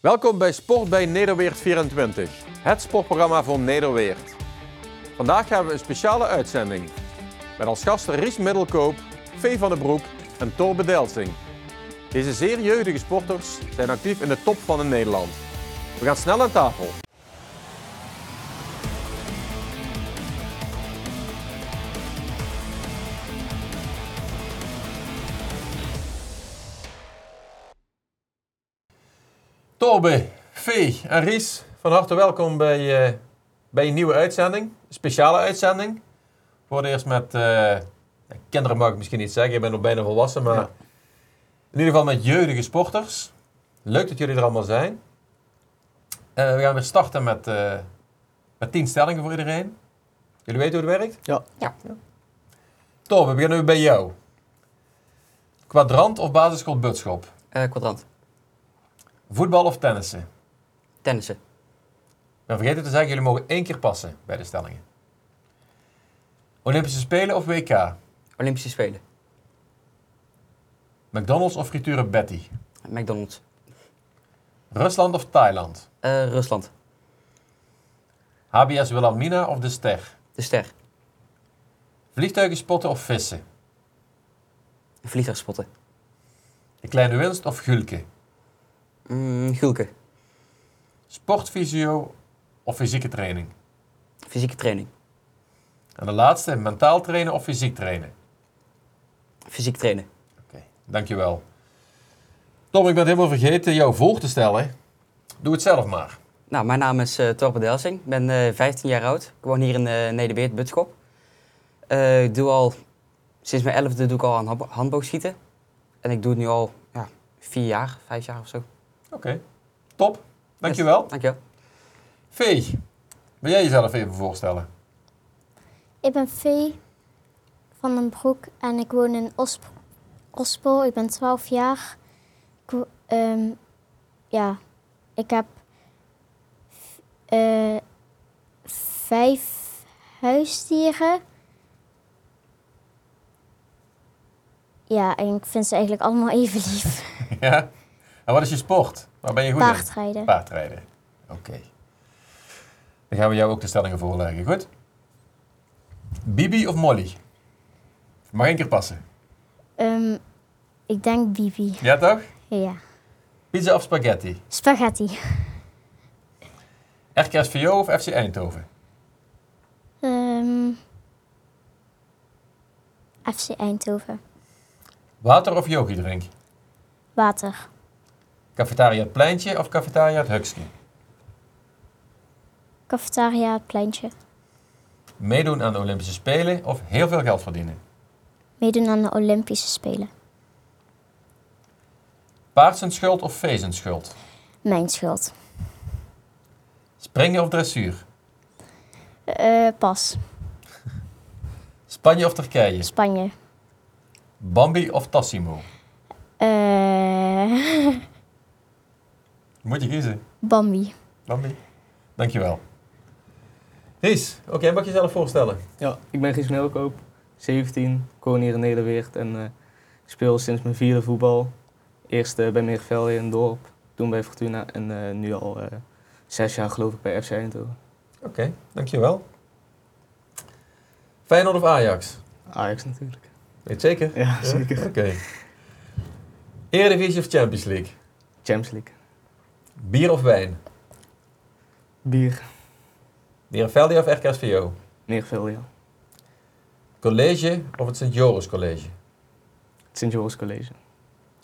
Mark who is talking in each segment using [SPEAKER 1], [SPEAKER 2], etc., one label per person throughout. [SPEAKER 1] Welkom bij Sport bij Nederweert 24, het sportprogramma voor Nederweert. Vandaag hebben we een speciale uitzending met als gasten Ries Middelkoop, Vee van den Broek en Torbe Delsing. Deze zeer jeugdige sporters zijn actief in de top van in Nederland. We gaan snel aan tafel. Torbe, Vee en Ries, van harte welkom bij, eh, bij een nieuwe uitzending. Een speciale uitzending. Voor het eerst met, eh, ja, kinderen mag ik misschien niet zeggen, je bent nog bijna volwassen, maar
[SPEAKER 2] Ja.
[SPEAKER 1] in ieder geval met jeugdige sporters. Leuk dat jullie er allemaal zijn. Eh, we gaan weer starten met, eh met tien stellingen voor iedereen. Jullie weten hoe het werkt?
[SPEAKER 2] Ja.
[SPEAKER 3] Ja.
[SPEAKER 1] Torbe, we beginnen weer bij jou. Kwadrant of basisschool Butschop?
[SPEAKER 3] Eh, kwadrant.
[SPEAKER 1] Voetbal of tennissen?
[SPEAKER 3] Tennissen.
[SPEAKER 1] Dan vergeet het te zeggen, jullie mogen één keer passen bij de stellingen. Olympische Spelen of WK?
[SPEAKER 3] Olympische Spelen.
[SPEAKER 1] McDonald's of frituur Betty?
[SPEAKER 3] McDonald's.
[SPEAKER 1] Rusland of Thailand?
[SPEAKER 3] Eh, Rusland.
[SPEAKER 1] HBS Wilhelmina of De Ster?
[SPEAKER 3] De Ster.
[SPEAKER 1] Vliegtuigen spotten of vissen?
[SPEAKER 3] Vliegtuig spotten.
[SPEAKER 1] De Kleine Winst of Gulke?
[SPEAKER 3] Mm, Gulke.
[SPEAKER 1] Sportvisio of fysieke training?
[SPEAKER 3] Fysieke training.
[SPEAKER 1] En de laatste, mentaal trainen of fysiek trainen?
[SPEAKER 3] Fysiek trainen.
[SPEAKER 1] Oké, dankjewel. Tom, ik ben helemaal vergeten jou voor te stellen. Doe het zelf maar.
[SPEAKER 3] Nou, mijn naam is eh Torben Delsing. Ik ben eh, 15 jaar oud. Ik woon hier in eh Nederbeert, Butschop. Eh, ik doe al, sinds mijn 11e doe ik al aan hand- handboogschieten. En ik doe het nu al ja, vier jaar, vijf jaar of zo.
[SPEAKER 1] Oké, top. Dankjewel.
[SPEAKER 3] Yes, Dankjewel.
[SPEAKER 1] Vee, wil jij jezelf even voorstellen?
[SPEAKER 4] Ik ben Vee van den Broek en ik woon in Osp Ospel. Ik ben 12 jaar. Ik, wo- ehm, ja, ik heb eh, vijf huisdieren. Ja, en ik vind ze eigenlijk allemaal even lief.
[SPEAKER 1] Ja. En wat is je sport? Waar ben je goed
[SPEAKER 4] Paardrijden.
[SPEAKER 1] in? Paardrijden. Oké. Dan gaan we jou ook de stellingen voorleggen, goed? Bibi of Molly? Mag één keer passen.
[SPEAKER 4] Ehm, ik denk Bibi.
[SPEAKER 1] Ja toch?
[SPEAKER 4] Ja.
[SPEAKER 1] Pizza of spaghetti?
[SPEAKER 4] Spaghetti.
[SPEAKER 1] RKSVO of FC Eindhoven?
[SPEAKER 4] Ehm, FC Eindhoven.
[SPEAKER 1] Water of yogi drink?
[SPEAKER 4] Water.
[SPEAKER 1] Cafetaria het Pleintje of Cafetaria het Hukske?
[SPEAKER 4] Cafetaria, het pleintje.
[SPEAKER 1] Meedoen aan de Olympische Spelen of heel veel geld verdienen?
[SPEAKER 4] Meedoen aan de Olympische Spelen.
[SPEAKER 1] Paarsenschuld of vezenschuld?
[SPEAKER 4] Mijn schuld.
[SPEAKER 1] Springen of dressuur?
[SPEAKER 4] Eh, pas.
[SPEAKER 1] Spanje of Turkije?
[SPEAKER 4] Spanje.
[SPEAKER 1] Bambi of Tassimo?
[SPEAKER 4] Eh,
[SPEAKER 1] Moet je kiezen.
[SPEAKER 4] Bambi.
[SPEAKER 1] Bambi. Dankjewel. Ries, oké, mag je jezelf voorstellen?
[SPEAKER 2] Ja, ik ben Gies Middelkoop, 17, ik woon hier in Nederweert en eh, speel sinds mijn vierde voetbal. Eerst eh, bij Meervelde in het dorp, toen bij Fortuna en eh, nu al eh, zes jaar geloof ik bij FC Eindhoven.
[SPEAKER 1] Oké, dankjewel. Feyenoord of Ajax?
[SPEAKER 2] Ajax natuurlijk.
[SPEAKER 1] Weet je zeker?
[SPEAKER 2] Ja, zeker.
[SPEAKER 1] Oké. Eredivisie of Champions League?
[SPEAKER 2] Champions League.
[SPEAKER 1] Bier of wijn?
[SPEAKER 2] Bier.
[SPEAKER 1] Nierenveldi of RKSVO?
[SPEAKER 2] Meervelde, ja.
[SPEAKER 1] College of het Sint Joris College?
[SPEAKER 2] Het Sint Joris College.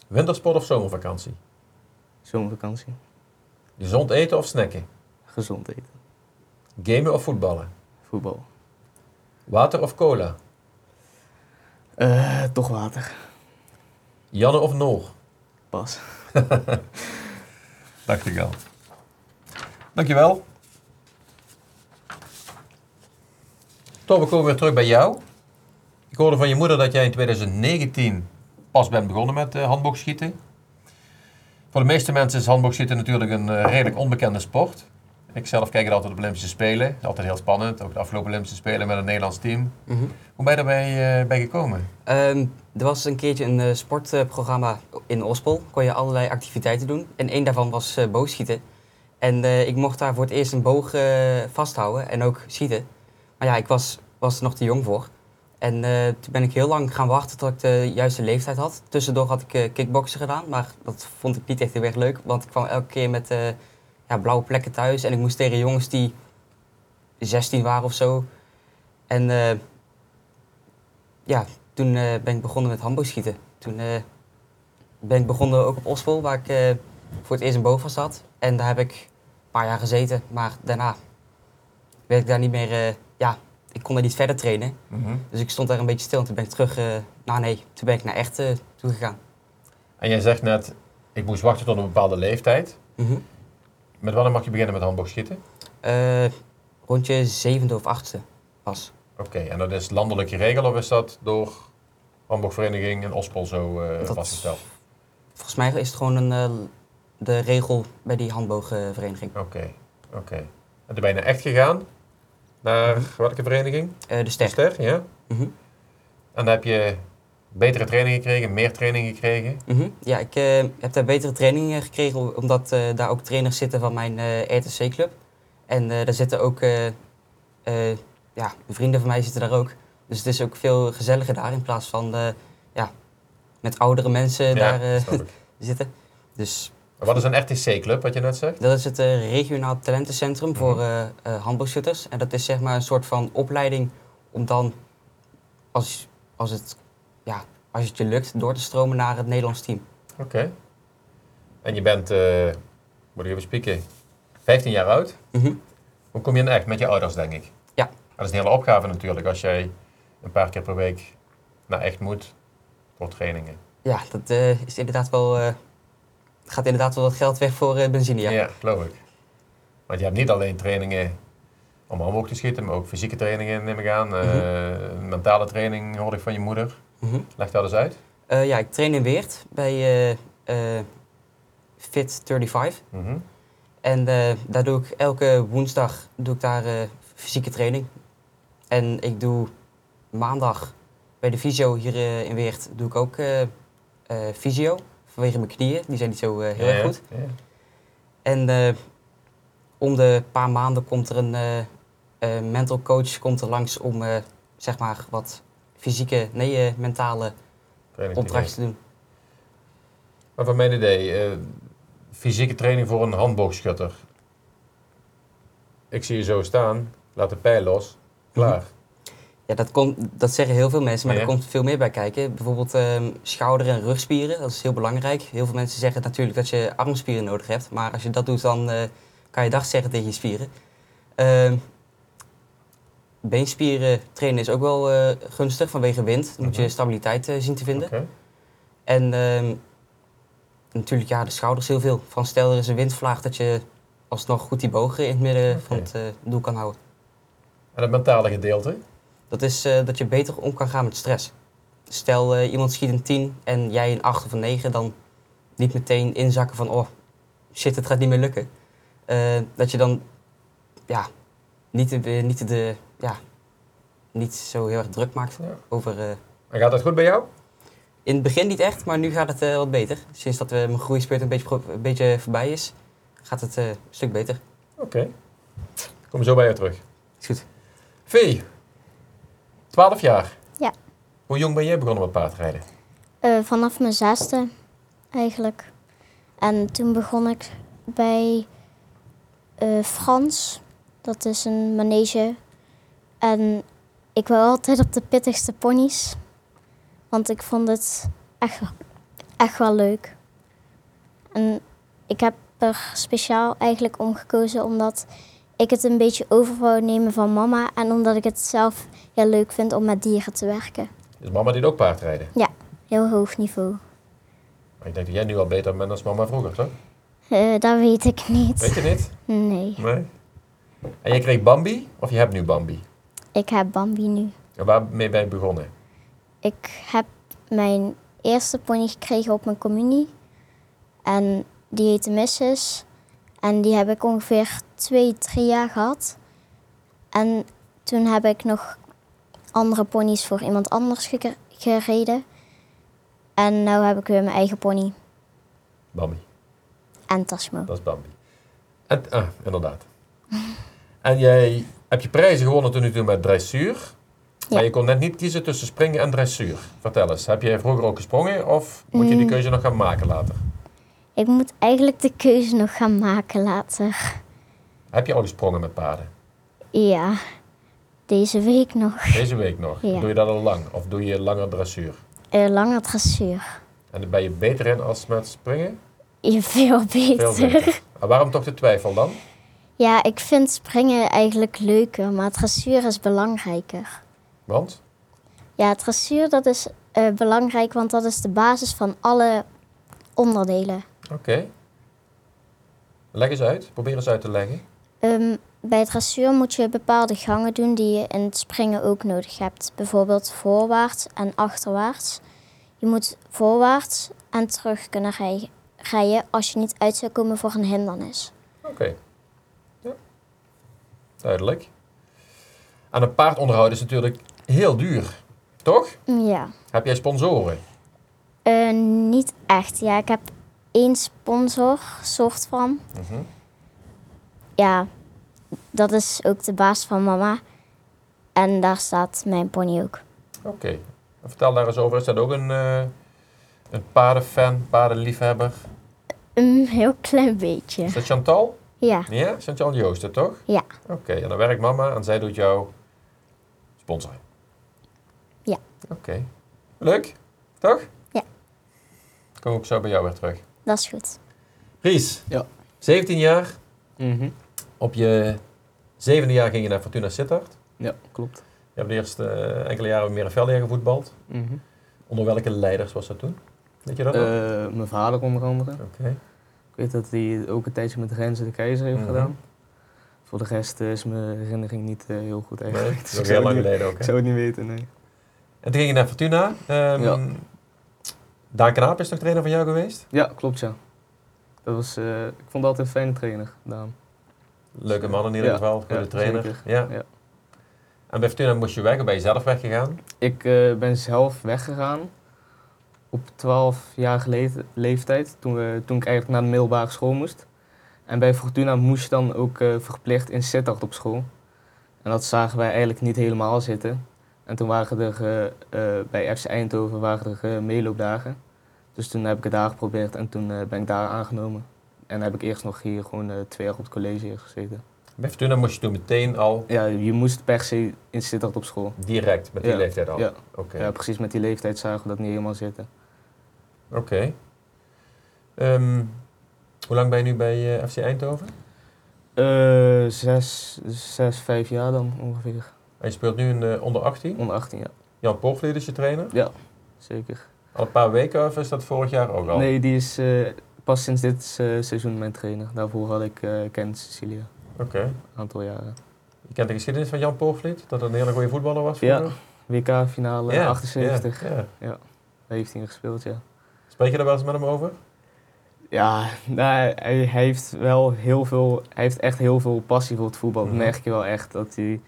[SPEAKER 1] Wintersport of zomervakantie?
[SPEAKER 2] Zomervakantie.
[SPEAKER 1] Gezond eten of snacken?
[SPEAKER 2] Gezond eten.
[SPEAKER 1] Gamen of voetballen?
[SPEAKER 2] Voetbal.
[SPEAKER 1] Water of cola?
[SPEAKER 2] Eh, toch water.
[SPEAKER 1] Janne of Noor?
[SPEAKER 2] Pas.
[SPEAKER 1] Dank je wel. Dankjewel. Tom, we komen weer terug bij jou. Ik hoorde van je moeder dat jij in 2019 pas bent begonnen met eh handboogschieten. Voor de meeste mensen is handboogschieten natuurlijk een eh, redelijk onbekende sport. Ik Ik zelf kijk er altijd op Olympische Spelen. Dat is altijd heel spannend. Ook de afgelopen Olympische Spelen met een Nederlands team.
[SPEAKER 3] Mhm.
[SPEAKER 1] Hoe ben je daarbij eh, bij gekomen?
[SPEAKER 3] Ehm, er was een keertje een eh, sportprogramma in Ospel. Kon je allerlei activiteiten doen. En één daarvan was eh, boogschieten. En eh, ik mocht daar voor het eerst een boog eh, vasthouden en ook schieten. Maar ja, ik was, was er nog te jong voor. En eh, toen ben ik heel lang gaan wachten tot ik de juiste leeftijd had. Tussendoor had ik eh kickboksen gedaan, maar dat vond ik niet echt heel erg leuk. Want ik kwam elke keer met eh, ja, blauwe plekken thuis. En ik moest tegen jongens die 16 waren of zo. En eh, ja, toen eh, ben ik begonnen met handboogschieten. Toen eh, ben ik begonnen ook op Ospel, waar ik eh, voor het eerst een boog vast had. En daar heb ik een paar jaar gezeten, maar daarna werd ik daar niet meer... eh, ja, ik kon daar niet verder trainen. Dus ik stond daar een beetje stil en toen ben ik terug... eh nou nee, toen ben ik naar echt eh, toe gegaan.
[SPEAKER 1] En jij zegt net, ik moest wachten tot een bepaalde leeftijd. Met wanneer mag je beginnen met handboogschieten?
[SPEAKER 3] Eh, rondje zevende of achtste was.
[SPEAKER 1] Oké, en dat is landelijke regel of is dat door handboogvereniging en Ospel zo eh,
[SPEAKER 3] Dat-
[SPEAKER 1] vastgesteld?
[SPEAKER 3] Volgens mij is het gewoon een, eh, de regel bij die handboogvereniging.
[SPEAKER 1] Oké, oké. En toen ben je naar echt gegaan? Naar
[SPEAKER 3] Mhm.
[SPEAKER 1] welke vereniging?
[SPEAKER 3] Eh, de
[SPEAKER 1] De
[SPEAKER 3] ster.
[SPEAKER 1] Ster, ja.
[SPEAKER 3] Mhm.
[SPEAKER 1] En dan heb je betere training gekregen, meer training gekregen.
[SPEAKER 3] Mhm. Ja, ik eh, heb daar betere trainingen gekregen, omdat eh, daar ook trainers zitten van mijn eh, RTC-club. En eh, daar zitten ook eh, eh, ja, vrienden van mij zitten daar ook. Dus het is ook veel gezelliger daar in plaats van eh, ja, met oudere mensen daar eh,
[SPEAKER 1] snap ik.
[SPEAKER 3] zitten. Dus
[SPEAKER 1] En Wat is een RTC-club, wat je net zegt?
[SPEAKER 3] dat is het eh, regionaal talentencentrum
[SPEAKER 1] Mhm.
[SPEAKER 3] voor eh eh, handbalschutters. En dat is zeg maar een soort van opleiding om dan, als, als, het, ja, als het je lukt, door te stromen naar het Nederlands team.
[SPEAKER 1] Oké. En je bent, eh, moet ik even spieken, 15 jaar oud.
[SPEAKER 3] Mhm.
[SPEAKER 1] Hoe kom je in echt? Met je ouders, denk ik.
[SPEAKER 3] Ja.
[SPEAKER 1] Dat is een hele opgave natuurlijk, als jij een paar keer per week naar echt moet voor trainingen.
[SPEAKER 3] Ja, dat eh, is inderdaad wel. eh, gaat inderdaad wel wat geld weg voor eh, benzine. Ja.
[SPEAKER 1] geloof ik. Want je hebt niet alleen trainingen om handboog te schieten, maar ook fysieke trainingen neem ik aan. Eh, mentale training hoorde ik van je moeder.
[SPEAKER 3] Mhm.
[SPEAKER 1] Leg dat eens uit.
[SPEAKER 3] Eh, ja, ik train in Weert bij eh, eh, Fit 35.
[SPEAKER 1] Mhm.
[SPEAKER 3] En eh, daar doe ik elke woensdag doe ik daar, eh, fysieke training. En ik doe maandag bij de fysio hier eh, in Weert doe ik ook eh, eh, fysio. Vanwege mijn knieën, die zijn niet zo eh, heel
[SPEAKER 1] Ja,
[SPEAKER 3] erg
[SPEAKER 1] ja.
[SPEAKER 3] goed.
[SPEAKER 1] Ja.
[SPEAKER 3] En eh, om de paar maanden komt er een eh, eh, mental coach komt er langs om eh, zeg maar wat fysieke, nee, eh, mentale
[SPEAKER 1] Training
[SPEAKER 3] opdrachten te doen.
[SPEAKER 1] Maar van mijn idee, eh, fysieke training voor een handboogschutter. Ik zie je zo staan, laat de pijl los,
[SPEAKER 3] Mhm.
[SPEAKER 1] klaar.
[SPEAKER 3] Ja, dat, komt, dat zeggen heel veel mensen, maar
[SPEAKER 1] Ja, ja.
[SPEAKER 3] er komt veel meer bij kijken. Bijvoorbeeld ehm, schouder- en rugspieren, dat is heel belangrijk. Heel veel mensen zeggen natuurlijk dat je armspieren nodig hebt, maar als je dat doet, dan eh, kan je dag zeggen tegen je spieren. Ehm, beenspieren trainen is ook wel eh, gunstig vanwege wind. Dan moet je
[SPEAKER 1] Mhm.
[SPEAKER 3] stabiliteit eh, zien te vinden.
[SPEAKER 1] Oké.
[SPEAKER 3] En ehm, natuurlijk, ja, de schouders heel veel. Van stel er is een windvlaag dat je alsnog goed die bogen in het midden van
[SPEAKER 1] Oké.
[SPEAKER 3] het eh, doel kan houden.
[SPEAKER 1] En het mentale gedeelte?
[SPEAKER 3] Dat is eh, dat je beter om kan gaan met stress. Stel eh, iemand schiet een 10 en jij een 8 of een 9, dan niet meteen inzakken van oh shit, het gaat niet meer lukken. Eh, dat je dan ja, niet, de- niet, de, ja, niet zo heel erg druk maakt
[SPEAKER 1] Ja.
[SPEAKER 3] over. eh,
[SPEAKER 1] En gaat dat goed bij jou?
[SPEAKER 3] in het begin niet echt, maar nu gaat het eh, wat beter. Sinds dat eh, mijn groeispeurt een beetje, pro- een beetje voorbij is, gaat het eh, een stuk beter.
[SPEAKER 1] Oké. Ik Kom zo bij jou terug.
[SPEAKER 3] Is goed.
[SPEAKER 1] Vee, 12 jaar.
[SPEAKER 4] Ja.
[SPEAKER 1] Hoe jong ben jij begonnen met paardrijden?
[SPEAKER 4] Eh, vanaf mijn zesde eigenlijk. En toen begon ik bij eh, Frans. Dat is een manege. En ik wou altijd op de pittigste ponies. Want ik vond het echt, echt wel leuk. En ik heb er speciaal eigenlijk om gekozen omdat ik het een beetje over wou nemen van mama. En omdat ik het zelf heel leuk vind om met dieren te werken.
[SPEAKER 1] Dus mama deed ook paardrijden.
[SPEAKER 4] Heel hoog niveau.
[SPEAKER 1] Maar ik denk dat jij nu al beter bent dan mama vroeger, toch?
[SPEAKER 4] Eh, dat weet ik
[SPEAKER 1] Weet
[SPEAKER 4] niet.
[SPEAKER 1] je niet?
[SPEAKER 4] Nee,
[SPEAKER 1] Nee. En jij kreeg Bambi? Of je hebt nu Bambi?
[SPEAKER 4] ik heb Bambi nu.
[SPEAKER 1] En waarmee ben je begonnen?
[SPEAKER 4] Ik heb mijn eerste pony gekregen op mijn communie. En die heette Mrs. En die heb ik ongeveer twee, drie jaar gehad. En toen heb ik nog andere ponies voor iemand anders geke- gereden. En nu heb ik weer mijn eigen pony
[SPEAKER 1] Bambi,
[SPEAKER 4] en Tasmo.
[SPEAKER 1] dat is Bambi. En, ah, inderdaad. en jij heb je prijzen gewonnen tot nu toe met dressuur. Maar
[SPEAKER 4] Ja.
[SPEAKER 1] je kon net niet kiezen tussen springen en dressuur. Vertel eens, heb jij vroeger ook gesprongen of moet je die
[SPEAKER 4] Mm.
[SPEAKER 1] keuze nog gaan maken later?
[SPEAKER 4] Ik moet eigenlijk de keuze nog gaan maken later.
[SPEAKER 1] Heb je al gesprongen met paarden?
[SPEAKER 4] Ja, deze week nog.
[SPEAKER 1] Deze week nog.
[SPEAKER 4] Ja.
[SPEAKER 1] Doe je dat al lang of doe je langer dressuur?
[SPEAKER 4] Eh lange dressuur.
[SPEAKER 1] En daar ben je beter in als met springen?
[SPEAKER 4] Je veel beter.
[SPEAKER 1] Veel beter. En waarom toch de twijfel dan?
[SPEAKER 4] Ja, ik vind springen eigenlijk leuker, maar dressuur is belangrijker.
[SPEAKER 1] Want?
[SPEAKER 4] Ja, dressuur dat is eh, belangrijk, want dat is de basis van alle onderdelen.
[SPEAKER 1] Oké. Leg eens uit. Probeer eens uit te leggen.
[SPEAKER 4] Ehm, bij dressuur moet je bepaalde gangen doen die je in het springen ook nodig hebt. Bijvoorbeeld voorwaarts en achterwaarts. Je moet voorwaarts en terug kunnen rij- rijden als je niet uit zou komen voor een hindernis.
[SPEAKER 1] Oké. Ja. Duidelijk. En een paard onderhouden is natuurlijk heel duur. Toch?
[SPEAKER 4] Ja,
[SPEAKER 1] Heb jij sponsoren?
[SPEAKER 4] Eh, niet echt. Ja, ik heb één sponsor, soort van.
[SPEAKER 1] Mhm.
[SPEAKER 4] Ja, dat is ook de baas van mama. En daar staat mijn pony ook.
[SPEAKER 1] Oké. Vertel daar eens over. Is dat ook een, eh, een paardenfan, paardenliefhebber?
[SPEAKER 4] Een heel klein beetje.
[SPEAKER 1] Is dat Chantal?
[SPEAKER 4] Ja,
[SPEAKER 1] Ja? Chantal Joosten, toch?
[SPEAKER 4] Ja.
[SPEAKER 1] Oké. En dan werkt mama en zij doet jou sponsoren?
[SPEAKER 4] Ja.
[SPEAKER 1] Oké. Leuk. Toch?
[SPEAKER 4] Ja.
[SPEAKER 1] Kom ik zo bij jou weer terug.
[SPEAKER 4] dat is goed.
[SPEAKER 1] Ries.
[SPEAKER 2] Ja.
[SPEAKER 1] 17 jaar.
[SPEAKER 2] Mhm.
[SPEAKER 1] Op je zevende jaar ging je naar Fortuna Sittard.
[SPEAKER 2] Ja, klopt.
[SPEAKER 1] Je hebt de eerste eh, enkele jaren meer velden gevoetbald.
[SPEAKER 2] Mhm.
[SPEAKER 1] Onder welke leiders was dat toen? Weet je dat nog?
[SPEAKER 2] Eh, mijn vader onder andere.
[SPEAKER 1] Oké.
[SPEAKER 2] Ik weet dat hij ook een tijdje met Renze de Keizer heeft
[SPEAKER 1] Mhm.
[SPEAKER 2] gedaan. Voor de rest eh, is mijn herinnering niet eh, heel goed
[SPEAKER 1] Nee,
[SPEAKER 2] eigenlijk.
[SPEAKER 1] dat
[SPEAKER 2] Dus
[SPEAKER 1] is
[SPEAKER 2] ik
[SPEAKER 1] ook
[SPEAKER 2] zou
[SPEAKER 1] heel lang
[SPEAKER 2] het niet-
[SPEAKER 1] geleden ook.
[SPEAKER 2] Ik
[SPEAKER 1] hè?
[SPEAKER 2] zou het niet weten, nee.
[SPEAKER 1] En toen ging je naar Fortuna. Ehm
[SPEAKER 2] Ja.
[SPEAKER 1] Daan Knaap is toch trainer van jou geweest?
[SPEAKER 2] Ja, klopt ja. Dat was, eh, ik vond het altijd een fijne trainer, Daan.
[SPEAKER 1] Leuke man in ieder
[SPEAKER 2] Ja,
[SPEAKER 1] geval, goede
[SPEAKER 2] ja,
[SPEAKER 1] trainer.
[SPEAKER 2] zeker.
[SPEAKER 1] Ja.
[SPEAKER 2] Ja.
[SPEAKER 1] En bij Fortuna moest je weg, of ben je zelf weggegaan?
[SPEAKER 2] Ik eh, ben zelf weggegaan op 12 jaar geleden, leeftijd, toen, we, toen ik eigenlijk naar de middelbare school moest. En bij Fortuna moest je dan ook eh, verplicht in Sittard op school. En dat zagen wij eigenlijk niet helemaal zitten. En toen waren er eh, eh, bij FC Eindhoven waren er, eh, meeloopdagen. Dus toen heb ik het daar geprobeerd en toen eh, ben ik daar aangenomen. En heb ik eerst nog hier gewoon eh, twee jaar op het college hier gezeten.
[SPEAKER 1] Bij Fortuna moest je toen meteen al
[SPEAKER 2] Ja, je moest per se in Sittard op school.
[SPEAKER 1] direct, met die
[SPEAKER 2] Ja.
[SPEAKER 1] leeftijd al?
[SPEAKER 2] Ja.
[SPEAKER 1] Oké.
[SPEAKER 2] Ja, precies met die leeftijd zagen we dat niet helemaal zitten.
[SPEAKER 1] Oké. Ehm, hoe lang ben je nu bij eh, FC Eindhoven?
[SPEAKER 2] Eh, zes, zes, vijf jaar dan ongeveer.
[SPEAKER 1] En je speelt nu in eh, onder 18.
[SPEAKER 2] Onder 18 jaar,
[SPEAKER 1] Jan Poortvliet is je trainer.
[SPEAKER 2] zeker.
[SPEAKER 1] Al een paar weken of is dat vorig jaar ook al?
[SPEAKER 2] Nee, die is eh, pas sinds dit eh, seizoen mijn trainer. Daarvoor had ik eh Kent Cecilia,
[SPEAKER 1] Oké.
[SPEAKER 2] een aantal jaren.
[SPEAKER 1] Je kent de geschiedenis van Jan Poortvliet? Dat hij een hele goede voetballer was?
[SPEAKER 2] Ja,
[SPEAKER 1] vroeger?
[SPEAKER 2] WK-finale
[SPEAKER 1] Ja,
[SPEAKER 2] 78.
[SPEAKER 1] ja, ja.
[SPEAKER 2] Daar heeft hij in gespeeld, ja.
[SPEAKER 1] Spreek je daar wel eens met hem over?
[SPEAKER 2] Ja, nou, hij, hij heeft wel heel veel, hij heeft echt heel veel passie voor het voetbal.
[SPEAKER 1] Mhm.
[SPEAKER 2] Dat merk je wel echt, dat hij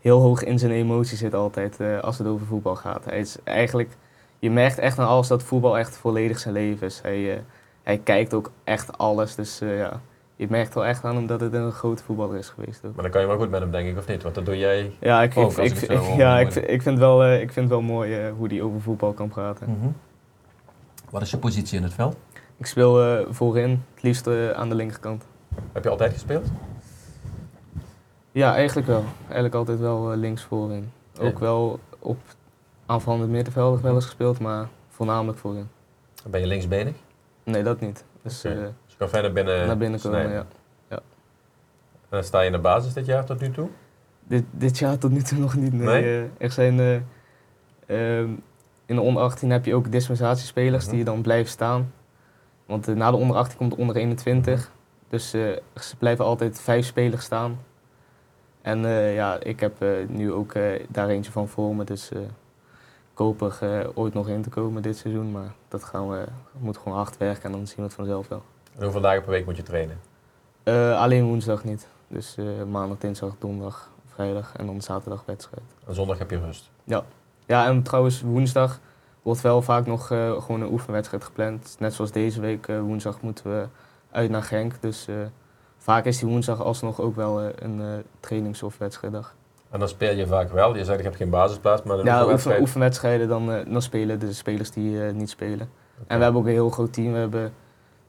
[SPEAKER 2] heel hoog in zijn emotie zit altijd eh, als het over voetbal gaat. Hij is eigenlijk, je merkt echt aan alles dat voetbal echt volledig zijn leven is. Hij, eh, hij kijkt ook echt alles, dus eh, ja, je merkt wel echt aan hem dat het een grote voetballer is geweest. Ook.
[SPEAKER 1] Maar dan kan je wel goed met hem, denk ik, of niet? Want dat doe jij.
[SPEAKER 2] Ja, ik,
[SPEAKER 1] Oh, Ook,
[SPEAKER 2] ik,
[SPEAKER 1] als
[SPEAKER 2] ik,
[SPEAKER 1] ik het
[SPEAKER 2] ik-
[SPEAKER 1] zo
[SPEAKER 2] ja,
[SPEAKER 1] hoor.
[SPEAKER 2] ik, ik, vind het wel, eh, ik vind het wel mooi eh, hoe hij over voetbal kan praten.
[SPEAKER 1] Mhm. Wat is je positie in het veld?
[SPEAKER 2] Ik speel eh, voorin, het liefst eh, aan de linkerkant.
[SPEAKER 1] Heb je altijd gespeeld?
[SPEAKER 2] Ja, eigenlijk wel. Eigenlijk altijd wel eh, links voorin. Ook
[SPEAKER 1] Ja.
[SPEAKER 2] wel op aanvallend middenveld wel eens gespeeld, maar voornamelijk voorin.
[SPEAKER 1] Dan ben je linksbenig.
[SPEAKER 2] Nee, dat niet. Dus
[SPEAKER 1] Oké.
[SPEAKER 2] eh,
[SPEAKER 1] Dus je kan verder binnen.
[SPEAKER 2] naar binnen komen,
[SPEAKER 1] snijden.
[SPEAKER 2] ja.
[SPEAKER 1] En dan sta je in de basis dit jaar tot nu toe.
[SPEAKER 2] Dit, dit jaar tot nu toe nog niet, nee.
[SPEAKER 1] Nee?
[SPEAKER 2] Eh, er zijn... eh, ehm, in de onder 18 heb je ook dispensatiespelers
[SPEAKER 1] Mhm.
[SPEAKER 2] die dan blijven staan. Want eh, na de onder 18 komt de onder 21. Dus eh, er blijven altijd vijf spelers staan. En eh, ja, ik heb eh, nu ook eh, daar eentje van voor me. Dus eh, ik hoop er eh, ooit nog in te komen dit seizoen. Maar dat gaan we, we moeten gewoon hard werken en dan zien we het vanzelf wel.
[SPEAKER 1] En hoeveel dagen per week moet je trainen?
[SPEAKER 2] Eh, Eh, alleen woensdag niet. Dus eh, maandag, dinsdag, donderdag, vrijdag en dan zaterdag wedstrijd.
[SPEAKER 1] En zondag heb je rust.
[SPEAKER 2] Ja, en trouwens, woensdag wordt wel vaak nog eh, gewoon een oefenwedstrijd gepland. Net zoals deze week, eh, woensdag moeten we uit naar Genk. Dus eh, vaak is die woensdag alsnog ook wel eh, een eh, trainings- of wedstrijddag.
[SPEAKER 1] En dan speel je vaak wel. Je zegt ik heb geen basisplaats, maar dan
[SPEAKER 2] Ja,
[SPEAKER 1] een
[SPEAKER 2] oefen,
[SPEAKER 1] wedstrijd.
[SPEAKER 2] oefenwedstrijden, dan, eh, dan spelen de spelers die eh, niet spelen.
[SPEAKER 1] Oké.
[SPEAKER 2] En we hebben ook een heel groot team. We hebben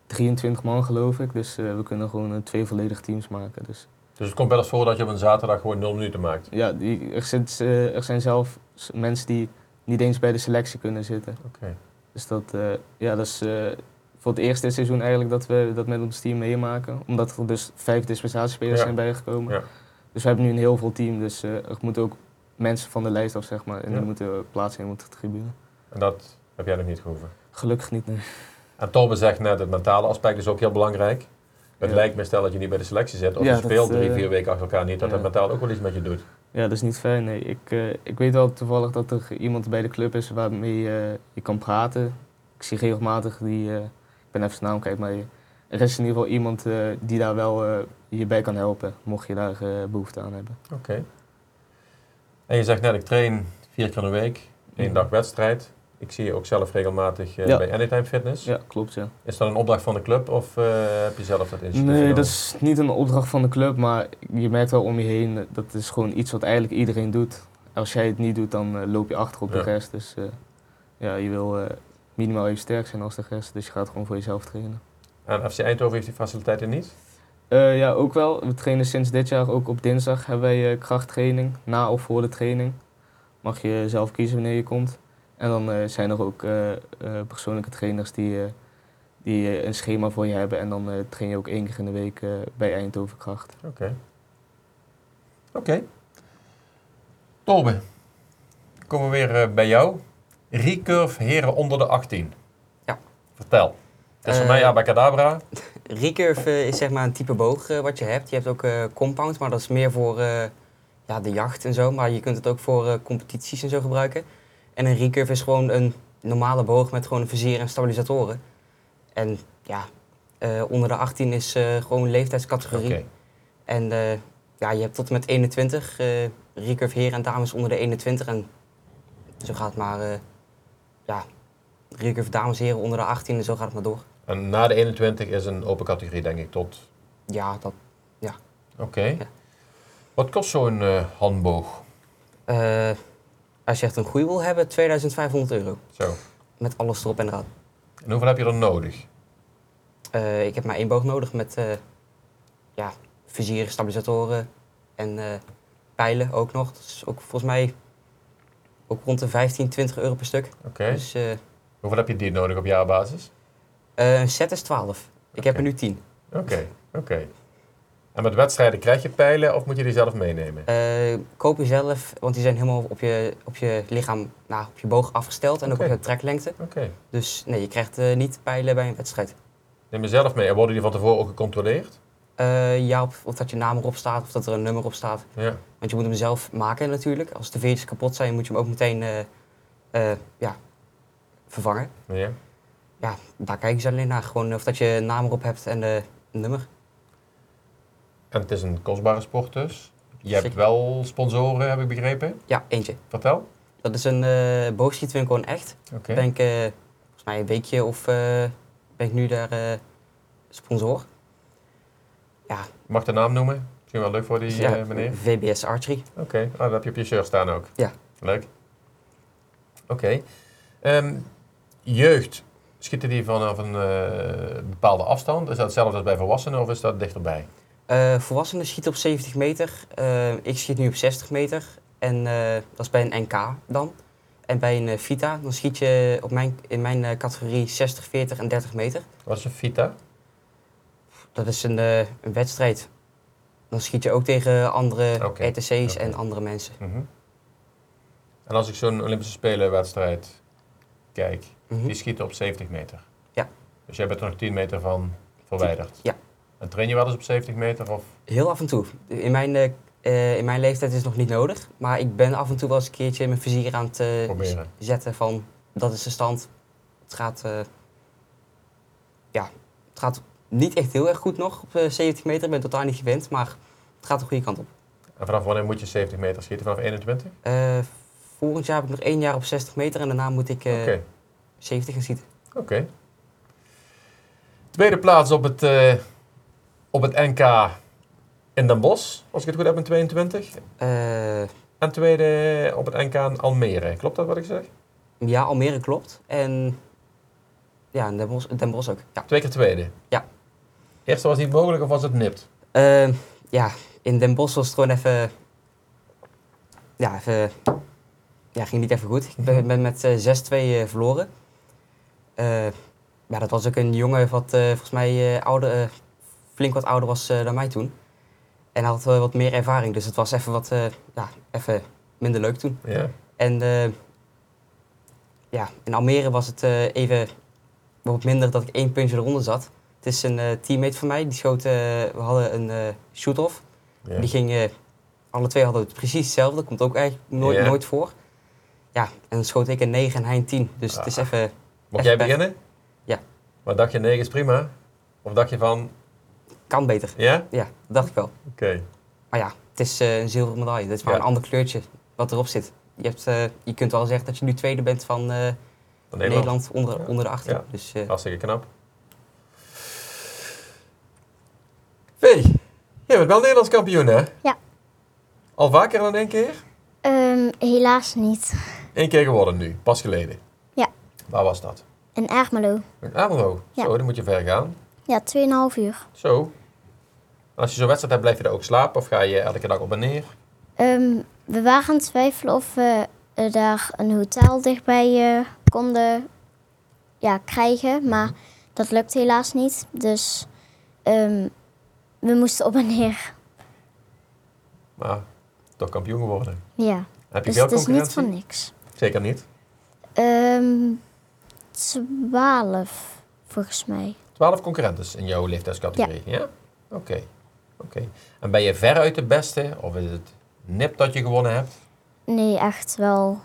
[SPEAKER 2] 23 man, geloof ik. Dus eh, we kunnen gewoon eh, twee volledige teams maken. Dus
[SPEAKER 1] Dus het komt wel eens voor dat je op een zaterdag gewoon 0 minuten maakt.
[SPEAKER 2] ja, die, er, zit, eh, er zijn zelf s- mensen die niet eens bij de selectie kunnen zitten.
[SPEAKER 1] Oké.
[SPEAKER 2] Dus dat, eh, ja, dat is eh, voor het eerste seizoen eigenlijk dat we dat met ons team meemaken. Omdat er dus vijf dispensatiespelers
[SPEAKER 1] Ja.
[SPEAKER 2] zijn bijgekomen.
[SPEAKER 1] Ja.
[SPEAKER 2] Dus we hebben nu een heel vol team. Dus eh, er moeten ook mensen van de lijst af, zeg maar. En
[SPEAKER 1] Ja.
[SPEAKER 2] die moeten plaats nemen op de tribune.
[SPEAKER 1] En dat heb jij nog niet gehoeven.
[SPEAKER 2] Gelukkig niet, nee.
[SPEAKER 1] En Torben zegt net, het mentale aspect is ook heel belangrijk. Het
[SPEAKER 2] Ja.
[SPEAKER 1] lijkt me stel dat je niet bij de selectie zit of je
[SPEAKER 2] Ja, dat,
[SPEAKER 1] speelt drie,
[SPEAKER 2] eh,
[SPEAKER 1] vier weken achter elkaar niet, dat
[SPEAKER 2] ja.
[SPEAKER 1] het mentaal ook wel iets met je doet.
[SPEAKER 2] Ja, dat is niet fijn. Nee. Ik, eh, ik weet wel toevallig dat er iemand bij de club is waarmee eh, je kan praten. Ik zie regelmatig die, eh, ik ben even zijn naam kwijt, maar je- er is in ieder geval iemand eh, die daar wel eh, je bij kan helpen, mocht je daar eh, behoefte aan hebben.
[SPEAKER 1] En je zegt net, ik train vier keer een week, één
[SPEAKER 2] Ja.
[SPEAKER 1] dag wedstrijd. Ik zie je ook zelf regelmatig eh,
[SPEAKER 2] Ja.
[SPEAKER 1] bij Anytime Fitness.
[SPEAKER 2] Ja, klopt ja.
[SPEAKER 1] Is dat een opdracht van de club of eh, heb je zelf dat initiatief
[SPEAKER 2] Nee,
[SPEAKER 1] genomen?
[SPEAKER 2] dat is niet een opdracht van de club, maar je merkt wel om je heen, eh, dat is gewoon iets wat eigenlijk iedereen doet. Als jij het niet doet, dan eh, loop je achter op
[SPEAKER 1] Ja.
[SPEAKER 2] de rest. Dus eh, ja, je wil eh, minimaal even sterk zijn als de rest, dus je gaat gewoon voor jezelf trainen.
[SPEAKER 1] En FC Eindhoven heeft die faciliteiten niet?
[SPEAKER 2] Eh, ja, ook wel. We trainen sinds dit jaar ook op dinsdag hebben wij eh, krachttraining, na of voor de training. Mag je zelf kiezen wanneer je komt. En dan eh, zijn er ook eh, eh, persoonlijke trainers die, eh, die eh, een schema voor je hebben. En dan eh, train je ook één keer in de week eh, bij Eindhoven Kracht.
[SPEAKER 1] Oké. Torben, komen we weer eh, bij jou. Recurve heren onder de 18.
[SPEAKER 3] Ja.
[SPEAKER 1] Vertel. Het is voor
[SPEAKER 3] Eh,
[SPEAKER 1] mij abacadabra.
[SPEAKER 3] Recurve eh, is zeg maar een type boog eh, wat je hebt. Je hebt ook eh, compound, maar dat is meer voor eh, ja, de jacht en zo. Maar je kunt het ook voor eh, competities en zo gebruiken. En een recurve is gewoon een normale boog met gewoon een vizier en stabilisatoren. En ja, eh, onder de 18 is eh, gewoon leeftijdscategorie.
[SPEAKER 1] Oké.
[SPEAKER 3] En eh, ja, je hebt tot en met 21. eh recurve heren en dames onder de 21. En zo gaat het maar. eh, ja, recurve dames heren onder de 18 en zo gaat het maar door.
[SPEAKER 1] En na de 21 is een open categorie, denk ik, tot...
[SPEAKER 3] Ja, dat
[SPEAKER 1] Oké.
[SPEAKER 3] Ja.
[SPEAKER 1] Wat kost zo'n eh, handboog?
[SPEAKER 3] Eh, als je echt een goede wil hebben, 2500 euro.
[SPEAKER 1] Zo.
[SPEAKER 3] Met alles erop en eraan.
[SPEAKER 1] En hoeveel heb je er nodig?
[SPEAKER 3] Eh, ik heb maar één boog nodig met eh ja, vizieren, stabilisatoren en eh, pijlen ook nog. Dat is ook volgens mij ook rond de 15, 20 euro per stuk.
[SPEAKER 1] Oké.
[SPEAKER 3] Dus eh,
[SPEAKER 1] Hoeveel heb je die nodig op jaarbasis?
[SPEAKER 3] eh, een set is 12. Ik heb er nu 10.
[SPEAKER 1] Oké, oké. En met wedstrijden krijg je pijlen of moet je die zelf meenemen?
[SPEAKER 3] Eh, koop je zelf, want die zijn helemaal op je, op je lichaam, nou, op je boog afgesteld en ook
[SPEAKER 1] Oké.
[SPEAKER 3] op je treklengte.
[SPEAKER 1] Oké.
[SPEAKER 3] Dus nee, je krijgt eh, niet pijlen bij een wedstrijd.
[SPEAKER 1] Neem je zelf mee. En worden die van tevoren ook gecontroleerd?
[SPEAKER 3] Eh, ja, of, of dat je naam erop staat of dat er een nummer op staat.
[SPEAKER 1] Ja.
[SPEAKER 3] Want je moet hem zelf maken natuurlijk. Als de veertjes kapot zijn, moet je hem ook meteen eh, eh, ja, vervangen.
[SPEAKER 1] Ja.
[SPEAKER 3] Daar kijken ze alleen naar. Gewoon eh, of dat je een naam erop hebt en eh, een nummer.
[SPEAKER 1] En het is een kostbare sport dus. Je hebt
[SPEAKER 3] Zeker.
[SPEAKER 1] wel sponsoren, heb ik begrepen.
[SPEAKER 3] Ja, eentje.
[SPEAKER 1] Vertel.
[SPEAKER 3] Dat is een eh boogschietwinkel in Echt.
[SPEAKER 1] Oké.
[SPEAKER 3] Ben ik, eh, volgens mij een weekje of eh, ben ik nu daar eh, sponsor.
[SPEAKER 1] Mag de naam noemen? Misschien wel leuk voor die eh, meneer.
[SPEAKER 3] VBS Archery.
[SPEAKER 1] Oké, Ah, dat heb je op je shirt staan ook.
[SPEAKER 3] Ja.
[SPEAKER 1] Leuk. Oké. Ehm, jeugd, schieten die vanaf een eh, bepaalde afstand? Is dat hetzelfde als bij volwassenen of is dat dichterbij?
[SPEAKER 3] Eh, volwassenen schieten op 70 meter. Eh, ik schiet nu op 60 meter. En eh, dat is bij een NK dan. En bij een eh, Vita, dan schiet je op mijn, in mijn eh, categorie 60, 40 en 30 meter.
[SPEAKER 1] Wat is een fita?
[SPEAKER 3] Dat is een, eh, een wedstrijd. Dan schiet je ook tegen andere
[SPEAKER 1] Oké,
[SPEAKER 3] RTC's
[SPEAKER 1] oké.
[SPEAKER 3] en andere mensen.
[SPEAKER 1] Mhm. En als ik zo'n Olympische Spelenwedstrijd kijk,
[SPEAKER 3] Mhm.
[SPEAKER 1] die schieten op 70 meter.
[SPEAKER 3] Ja.
[SPEAKER 1] Dus jij bent er nog 10 meter van verwijderd.
[SPEAKER 3] Ja.
[SPEAKER 1] En train je wel eens op 70 meter? Of?
[SPEAKER 3] Heel af en toe. In mijn, eh, eh, in mijn leeftijd is het nog niet nodig. Maar ik ben af en toe wel eens een keertje mijn vizier aan het eh,
[SPEAKER 1] Proberen.
[SPEAKER 3] z- zetten van dat is de stand. Het gaat, eh, ja, het gaat niet echt heel erg goed nog op eh, 70 meter. Ik ben totaal niet gewend, maar het gaat de goede kant op.
[SPEAKER 1] En vanaf wanneer moet je 70 meter schieten? Vanaf 21?
[SPEAKER 3] Eh, volgend jaar heb ik nog één jaar op 60 meter en daarna moet ik eh,
[SPEAKER 1] Oké.
[SPEAKER 3] 70 gaan schieten.
[SPEAKER 1] Oké. Tweede plaats op het, eh, op het NK in Den Bosch, als ik het goed heb, in 22.
[SPEAKER 3] Eh,
[SPEAKER 1] En tweede op het NK in Almere. Klopt dat wat ik zeg?
[SPEAKER 3] ja, Almere klopt. En ja, Den Bosch, Den Bosch ook. Ja.
[SPEAKER 1] Twee keer tweede.
[SPEAKER 3] Ja.
[SPEAKER 1] Eerste was niet mogelijk of was het nipt?
[SPEAKER 3] Eh, ja, in Den Bosch was het gewoon even... Ja, even... Ja, ging niet even goed. Ik ben, ben met eh, 6-2 eh, verloren. Eh, ja, dat was ook een jongen wat eh, volgens mij eh, ouder, eh, flink wat ouder was eh, dan mij toen. En had wel wat meer ervaring, dus het was even wat eh, ja, even minder leuk toen.
[SPEAKER 1] Ja.
[SPEAKER 3] En eh, ja, in Almere was het eh, even wat minder dat ik één puntje eronder zat. Het is een eh, teammate van mij, die schoot, eh, we hadden een eh shoot-off.
[SPEAKER 1] ja.
[SPEAKER 3] Die ging, eh, alle twee hadden het precies hetzelfde, dat komt ook eigenlijk nooit,
[SPEAKER 1] Ja.
[SPEAKER 3] nooit voor. Ja, en dan schoot ik een 9 en hij een 10. Dus het is
[SPEAKER 1] Ah.
[SPEAKER 3] even,
[SPEAKER 1] Mag jij
[SPEAKER 3] Echt pech.
[SPEAKER 1] beginnen?
[SPEAKER 3] Ja.
[SPEAKER 1] Maar dacht je 9 is prima? Of dacht je van,
[SPEAKER 3] kan beter.
[SPEAKER 1] ja?
[SPEAKER 3] Ja, dat dacht ik wel.
[SPEAKER 1] Oké.
[SPEAKER 3] Maar ja, het is eh, een zilveren medaille. Dit is maar
[SPEAKER 1] Ja.
[SPEAKER 3] een ander kleurtje wat erop zit. Je, hebt, eh, je kunt wel zeggen dat je nu tweede bent van eh,
[SPEAKER 1] Dan Nederland.
[SPEAKER 3] Nederland onder,
[SPEAKER 1] Ja.
[SPEAKER 3] onder de 18.
[SPEAKER 1] Ja.
[SPEAKER 3] Dus, eh,
[SPEAKER 1] Hartstikke knap. Vee, jij bent wel Nederlands kampioen, hè?
[SPEAKER 4] Ja.
[SPEAKER 1] Al vaker dan één keer?
[SPEAKER 4] Ehm, helaas niet.
[SPEAKER 1] Eén keer geworden nu, pas geleden.
[SPEAKER 4] Ja.
[SPEAKER 1] Waar was dat?
[SPEAKER 4] In Ermelo.
[SPEAKER 1] In Amelo.
[SPEAKER 4] Ja.
[SPEAKER 1] Zo, dan moet je ver gaan.
[SPEAKER 4] Ja, 2,5 uur.
[SPEAKER 1] Zo. En als je zo'n wedstrijd hebt, blijf je daar ook slapen? Of ga je elke dag op en neer?
[SPEAKER 4] Ehm, we waren aan het twijfelen of we eh, daar een hotel dichtbij eh, konden ja, krijgen. Maar dat lukt helaas niet. Dus ehm, we moesten op en neer.
[SPEAKER 1] Maar toch kampioen geworden.
[SPEAKER 4] Ja,
[SPEAKER 1] Heb je
[SPEAKER 4] dus
[SPEAKER 1] veel
[SPEAKER 4] het is
[SPEAKER 1] concurrentie?
[SPEAKER 4] niet van niks.
[SPEAKER 1] Zeker niet.
[SPEAKER 4] Ehm 12 volgens mij.
[SPEAKER 1] 12 concurrenten in jouw leeftijdscategorie, ja? Oké. Oké. En ben je veruit de beste? Of is het nip dat je gewonnen hebt?
[SPEAKER 4] Nee, echt wel.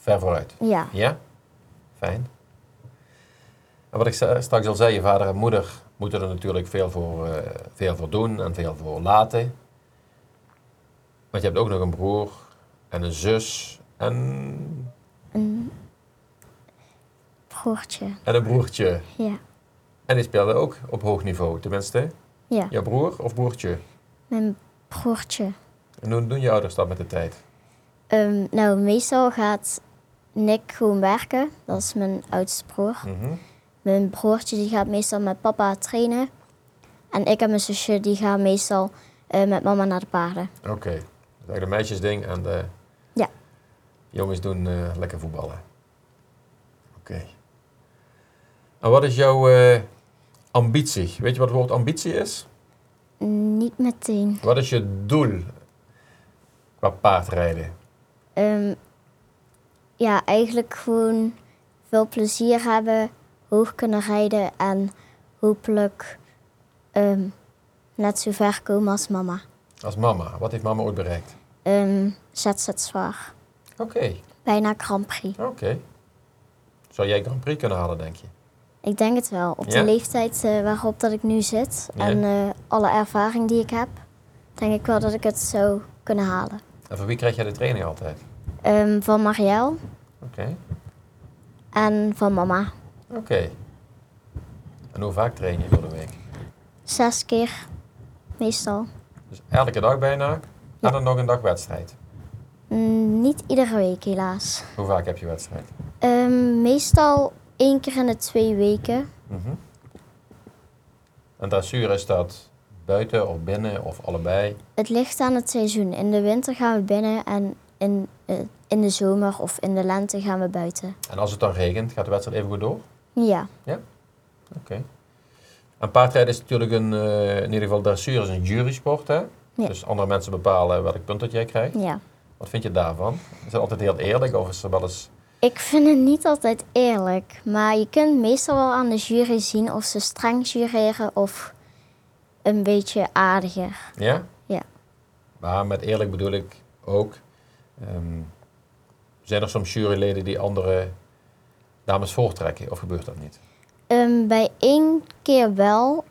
[SPEAKER 1] Ver vooruit.
[SPEAKER 4] Ja.
[SPEAKER 1] Ja? Fijn. En wat ik sta- straks al zei, je vader en moeder moeten er natuurlijk veel voor, eh, veel voor doen en veel voor laten. Want je hebt ook nog een broer en een zus en,
[SPEAKER 4] Een broertje.
[SPEAKER 1] en een broertje.
[SPEAKER 4] Ja.
[SPEAKER 1] En die speelden ook op hoog niveau, tenminste.
[SPEAKER 4] ja.
[SPEAKER 1] Je broer of broertje?
[SPEAKER 4] Mijn broertje.
[SPEAKER 1] En hoe doen je ouders dat met de tijd?
[SPEAKER 4] Ehm, nou, meestal gaat Nick gewoon werken. Dat is mijn oudste broer.
[SPEAKER 1] Mhm.
[SPEAKER 4] Mijn broertje die gaat meestal met papa trainen. En ik en mijn zusje die gaan meestal eh, met mama naar de paarden.
[SPEAKER 1] Oké. Dat is eigenlijk een meisjesding en de
[SPEAKER 4] Ja.
[SPEAKER 1] jongens doen eh, lekker voetballen. Oké. En wat is jouw eh, ambitie? Weet je wat het woord ambitie is?
[SPEAKER 4] Niet meteen.
[SPEAKER 1] Wat is je doel qua paardrijden?
[SPEAKER 4] Ehm, ja, eigenlijk gewoon veel plezier hebben, hoog kunnen rijden en hopelijk ehm, net zo ver komen als mama.
[SPEAKER 1] Als mama, wat heeft mama ooit bereikt?
[SPEAKER 4] Ehm zet ze het zwaar.
[SPEAKER 1] Oké,
[SPEAKER 4] Bijna Grand Prix.
[SPEAKER 1] oké. Zou jij Grand Prix kunnen halen, denk je?
[SPEAKER 4] Ik denk het wel. Op
[SPEAKER 1] Ja?
[SPEAKER 4] de leeftijd eh, waarop dat ik nu zit
[SPEAKER 1] Ja.
[SPEAKER 4] en eh, alle ervaring die ik heb, denk ik wel dat ik het zou kunnen halen.
[SPEAKER 1] En voor wie krijg jij de training altijd?
[SPEAKER 4] Ehm, van Marielle
[SPEAKER 1] Oké,
[SPEAKER 4] en van mama.
[SPEAKER 1] oké. En hoe vaak train je door de week?
[SPEAKER 4] Zes keer, meestal.
[SPEAKER 1] Dus elke dag bijna
[SPEAKER 4] Ja.
[SPEAKER 1] en dan nog een dag wedstrijd.
[SPEAKER 4] Mm, niet iedere week helaas.
[SPEAKER 1] Hoe vaak heb je wedstrijd?
[SPEAKER 4] Ehm, meestal één keer in de twee weken.
[SPEAKER 1] Mhm. En dressuur is dat buiten of binnen of allebei?
[SPEAKER 4] Het ligt aan het seizoen. In de winter gaan we binnen en in, eh, in de zomer of in de lente gaan we buiten.
[SPEAKER 1] En als het dan regent, gaat de wedstrijd even goed door? Oké.
[SPEAKER 4] Ja,
[SPEAKER 1] En paardrijden is natuurlijk een, eh, in ieder geval dressuur is een jurysport, hè?
[SPEAKER 4] Ja.
[SPEAKER 1] Dus andere mensen bepalen welk punt dat jij krijgt.
[SPEAKER 4] ja.
[SPEAKER 1] Wat vind je daarvan? Is dat altijd heel eerlijk of is er wel eens...
[SPEAKER 4] Ik vind het niet altijd eerlijk, maar je kunt meestal wel aan de jury zien of ze streng jureren of een beetje aardiger.
[SPEAKER 1] Ja?
[SPEAKER 4] Ja.
[SPEAKER 1] Maar met eerlijk bedoel ik ook... ehm, zijn er soms juryleden die andere dames voortrekken of gebeurt dat niet?
[SPEAKER 4] Ehm, bij één keer wel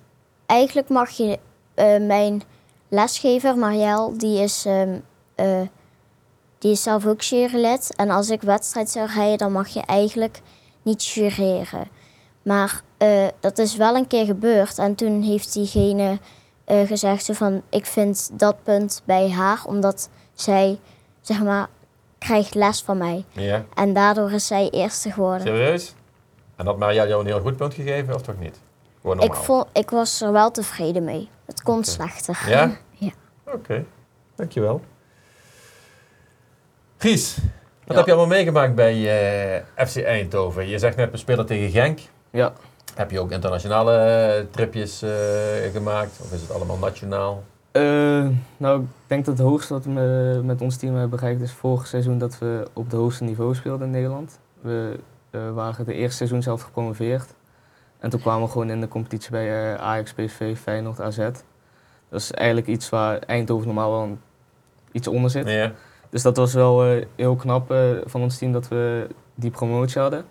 [SPEAKER 4] eigenlijk mag je eh, mijn lesgever, Marielle, die is, ehm, eh, die is zelf ook jurylid. En als ik wedstrijd zou rijden, dan mag je eigenlijk niet jureren. Maar eh, dat is wel een keer gebeurd. En toen heeft diegene eh, gezegd zo van, ik vind dat punt bij haar, omdat zij, zeg maar, krijgt les van mij.
[SPEAKER 1] Ja.
[SPEAKER 4] En daardoor is zij eerste geworden.
[SPEAKER 1] Serieus? En had Maria jou een heel goed punt gegeven of toch niet? Gewoon
[SPEAKER 4] Ik,
[SPEAKER 1] normaal.
[SPEAKER 4] vond, ik was er wel tevreden mee. Het kon slechter.
[SPEAKER 1] Ja?
[SPEAKER 4] Ja.
[SPEAKER 1] Oké, dankjewel. Gies, wat
[SPEAKER 2] Ja.
[SPEAKER 1] heb je allemaal meegemaakt bij eh, FC Eindhoven? Je zegt net we spelen tegen Genk.
[SPEAKER 2] Ja,
[SPEAKER 1] Heb je ook internationale eh, tripjes eh, gemaakt? Of is het allemaal nationaal?
[SPEAKER 2] Eh, nou, ik denk dat het hoogste wat we met ons team hebben bereikt is vorig seizoen dat we op het hoogste niveau speelden in Nederland. We eh, waren de eerste seizoen zelf gepromoveerd. En toen kwamen we gewoon in de competitie bij eh, Ajax, PSV, Feyenoord, AZ. Dat is eigenlijk iets waar Eindhoven normaal wel een- iets onder zit.
[SPEAKER 1] Ja.
[SPEAKER 2] Dus dat was wel eh, heel knap eh, van ons team dat we die promotie hadden.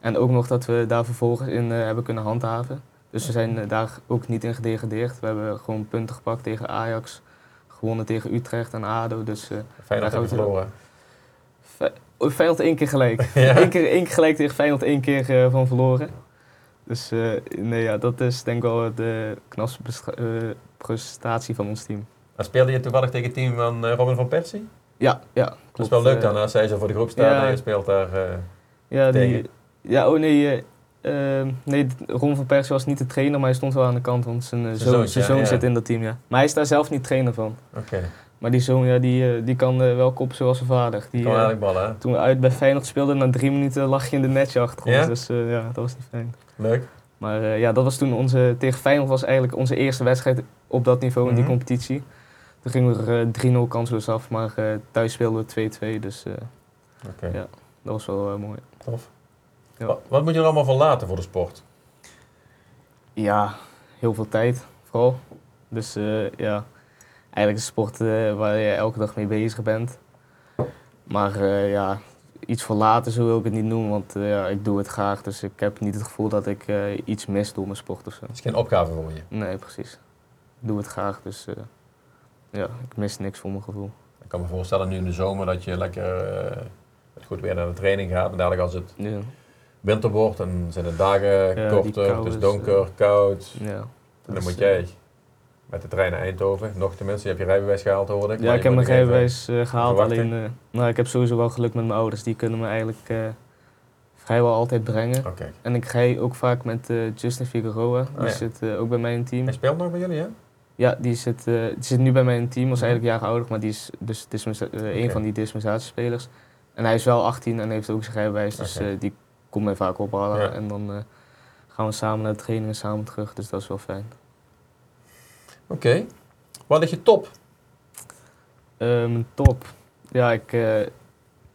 [SPEAKER 2] En ook nog dat we daar vervolgens in eh, hebben kunnen handhaven. Dus we zijn eh, daar ook niet in gedegradeerd. We hebben gewoon punten gepakt tegen Ajax, gewonnen tegen Utrecht en ADO. Dus eh
[SPEAKER 1] Feyenoord
[SPEAKER 2] Daar
[SPEAKER 1] hebben
[SPEAKER 2] gaan we
[SPEAKER 1] verloren.
[SPEAKER 2] Fe- oh, Feyenoord één keer gelijk.
[SPEAKER 1] Ja.
[SPEAKER 2] Eén keer, één keer gelijk tegen Feyenoord, één keer eh, van verloren. Dus eh, nee, ja, dat is denk ik wel de knapste bestra- eh, prestatie van ons team.
[SPEAKER 1] Dan speelde je toevallig tegen het team van eh, Robin van Persie.
[SPEAKER 2] Ja, ja klopt.
[SPEAKER 1] Dat is wel leuk
[SPEAKER 2] Eh,
[SPEAKER 1] dan, als zij zo voor de groep staat
[SPEAKER 2] ja.
[SPEAKER 1] en je speelt daar. eh,
[SPEAKER 2] Ja,
[SPEAKER 1] Tegen?
[SPEAKER 2] die, ja oh nee, eh, ehm, nee, Ron van Persie was niet de trainer, maar hij stond wel aan de kant, want zijn, eh,
[SPEAKER 1] Zijn
[SPEAKER 2] zoon,
[SPEAKER 1] zoontje,
[SPEAKER 2] zijn zoon
[SPEAKER 1] ja.
[SPEAKER 2] zit in dat team, ja. Maar hij is daar zelf niet trainer van.
[SPEAKER 1] Oké,
[SPEAKER 2] Maar die zoon, ja, die, eh, die kan eh, wel koppen zoals zijn vader. Die,
[SPEAKER 1] kan
[SPEAKER 2] eh,
[SPEAKER 1] eigenlijk ballen, hè?
[SPEAKER 2] toen we uit bij Feyenoord speelden, na drie minuten lag je in de netje achter ons.
[SPEAKER 1] Ja?
[SPEAKER 2] Dus eh, ja, dat was niet fijn.
[SPEAKER 1] Leuk.
[SPEAKER 2] Maar eh, ja, dat was toen onze, tegen Feyenoord was eigenlijk onze eerste wedstrijd op dat niveau in
[SPEAKER 1] Mhm.
[SPEAKER 2] die competitie. Toen gingen we er eh, 3-0 kansloos af, maar eh, thuis speelden we 2-2, dus eh,
[SPEAKER 1] Oké.
[SPEAKER 2] ja, dat was wel eh, mooi.
[SPEAKER 1] Tof.
[SPEAKER 2] Ja.
[SPEAKER 1] Wat, wat moet je er allemaal van laten voor de sport?
[SPEAKER 2] Ja, heel veel tijd vooral. Dus eh, ja, eigenlijk een sport eh, waar je elke dag mee bezig bent. Maar eh, ja, iets voor later zo wil ik het niet noemen, want eh, ja, ik doe het graag. Dus ik heb niet het gevoel dat ik eh, iets mis door mijn sport of zo.
[SPEAKER 1] Dat is geen opgave voor je.
[SPEAKER 2] Nee, precies. Ik doe het graag, dus eh, ja, ik mis niks voor mijn gevoel.
[SPEAKER 1] Ik kan me voorstellen nu in de zomer dat je lekker eh, het goed weer naar de training gaat. En dadelijk als het
[SPEAKER 2] Ja,
[SPEAKER 1] winter wordt, dan zijn de dagen
[SPEAKER 2] Ja, die
[SPEAKER 1] korter, het
[SPEAKER 2] kou
[SPEAKER 1] is
[SPEAKER 2] is,
[SPEAKER 1] donker, koud.
[SPEAKER 2] ja.
[SPEAKER 1] En dan
[SPEAKER 2] Dus,
[SPEAKER 1] moet
[SPEAKER 2] eh,
[SPEAKER 1] jij met de trein naar Eindhoven, nog tenminste, je hebt je rijbewijs gehaald hoor ik.
[SPEAKER 2] Ja,
[SPEAKER 1] maar
[SPEAKER 2] ik
[SPEAKER 1] je
[SPEAKER 2] heb
[SPEAKER 1] moet
[SPEAKER 2] mijn
[SPEAKER 1] nog even-
[SPEAKER 2] rijbewijs eh, gehaald.
[SPEAKER 1] verwachten.
[SPEAKER 2] Alleen, eh, nou, ik heb sowieso wel geluk met mijn ouders. Die kunnen me eigenlijk eh, vrijwel altijd brengen.
[SPEAKER 1] Oké,
[SPEAKER 2] En ik rij ook vaak met eh, Justin Figueroa. Die
[SPEAKER 1] Oh ja.
[SPEAKER 2] zit eh, ook bij mij in het team.
[SPEAKER 1] hij speelt nog bij jullie hè?
[SPEAKER 2] Ja, die zit, eh, die zit nu bij mij in het team. Was
[SPEAKER 1] Mhm.
[SPEAKER 2] eigenlijk jaren ouder, maar die is dus dispensa- eh,
[SPEAKER 1] Oké.
[SPEAKER 2] een van die dispensatiespelers. En hij is wel 18 en heeft ook zijn rijbewijs. Dus
[SPEAKER 1] Oké.
[SPEAKER 2] eh, die komt mij vaak ophalen.
[SPEAKER 1] Ja.
[SPEAKER 2] En dan eh, gaan we samen naar de training en samen terug. Dus dat is wel fijn.
[SPEAKER 1] Oké. Wat is je top?
[SPEAKER 2] Eh, mijn top. Ja, ik, eh,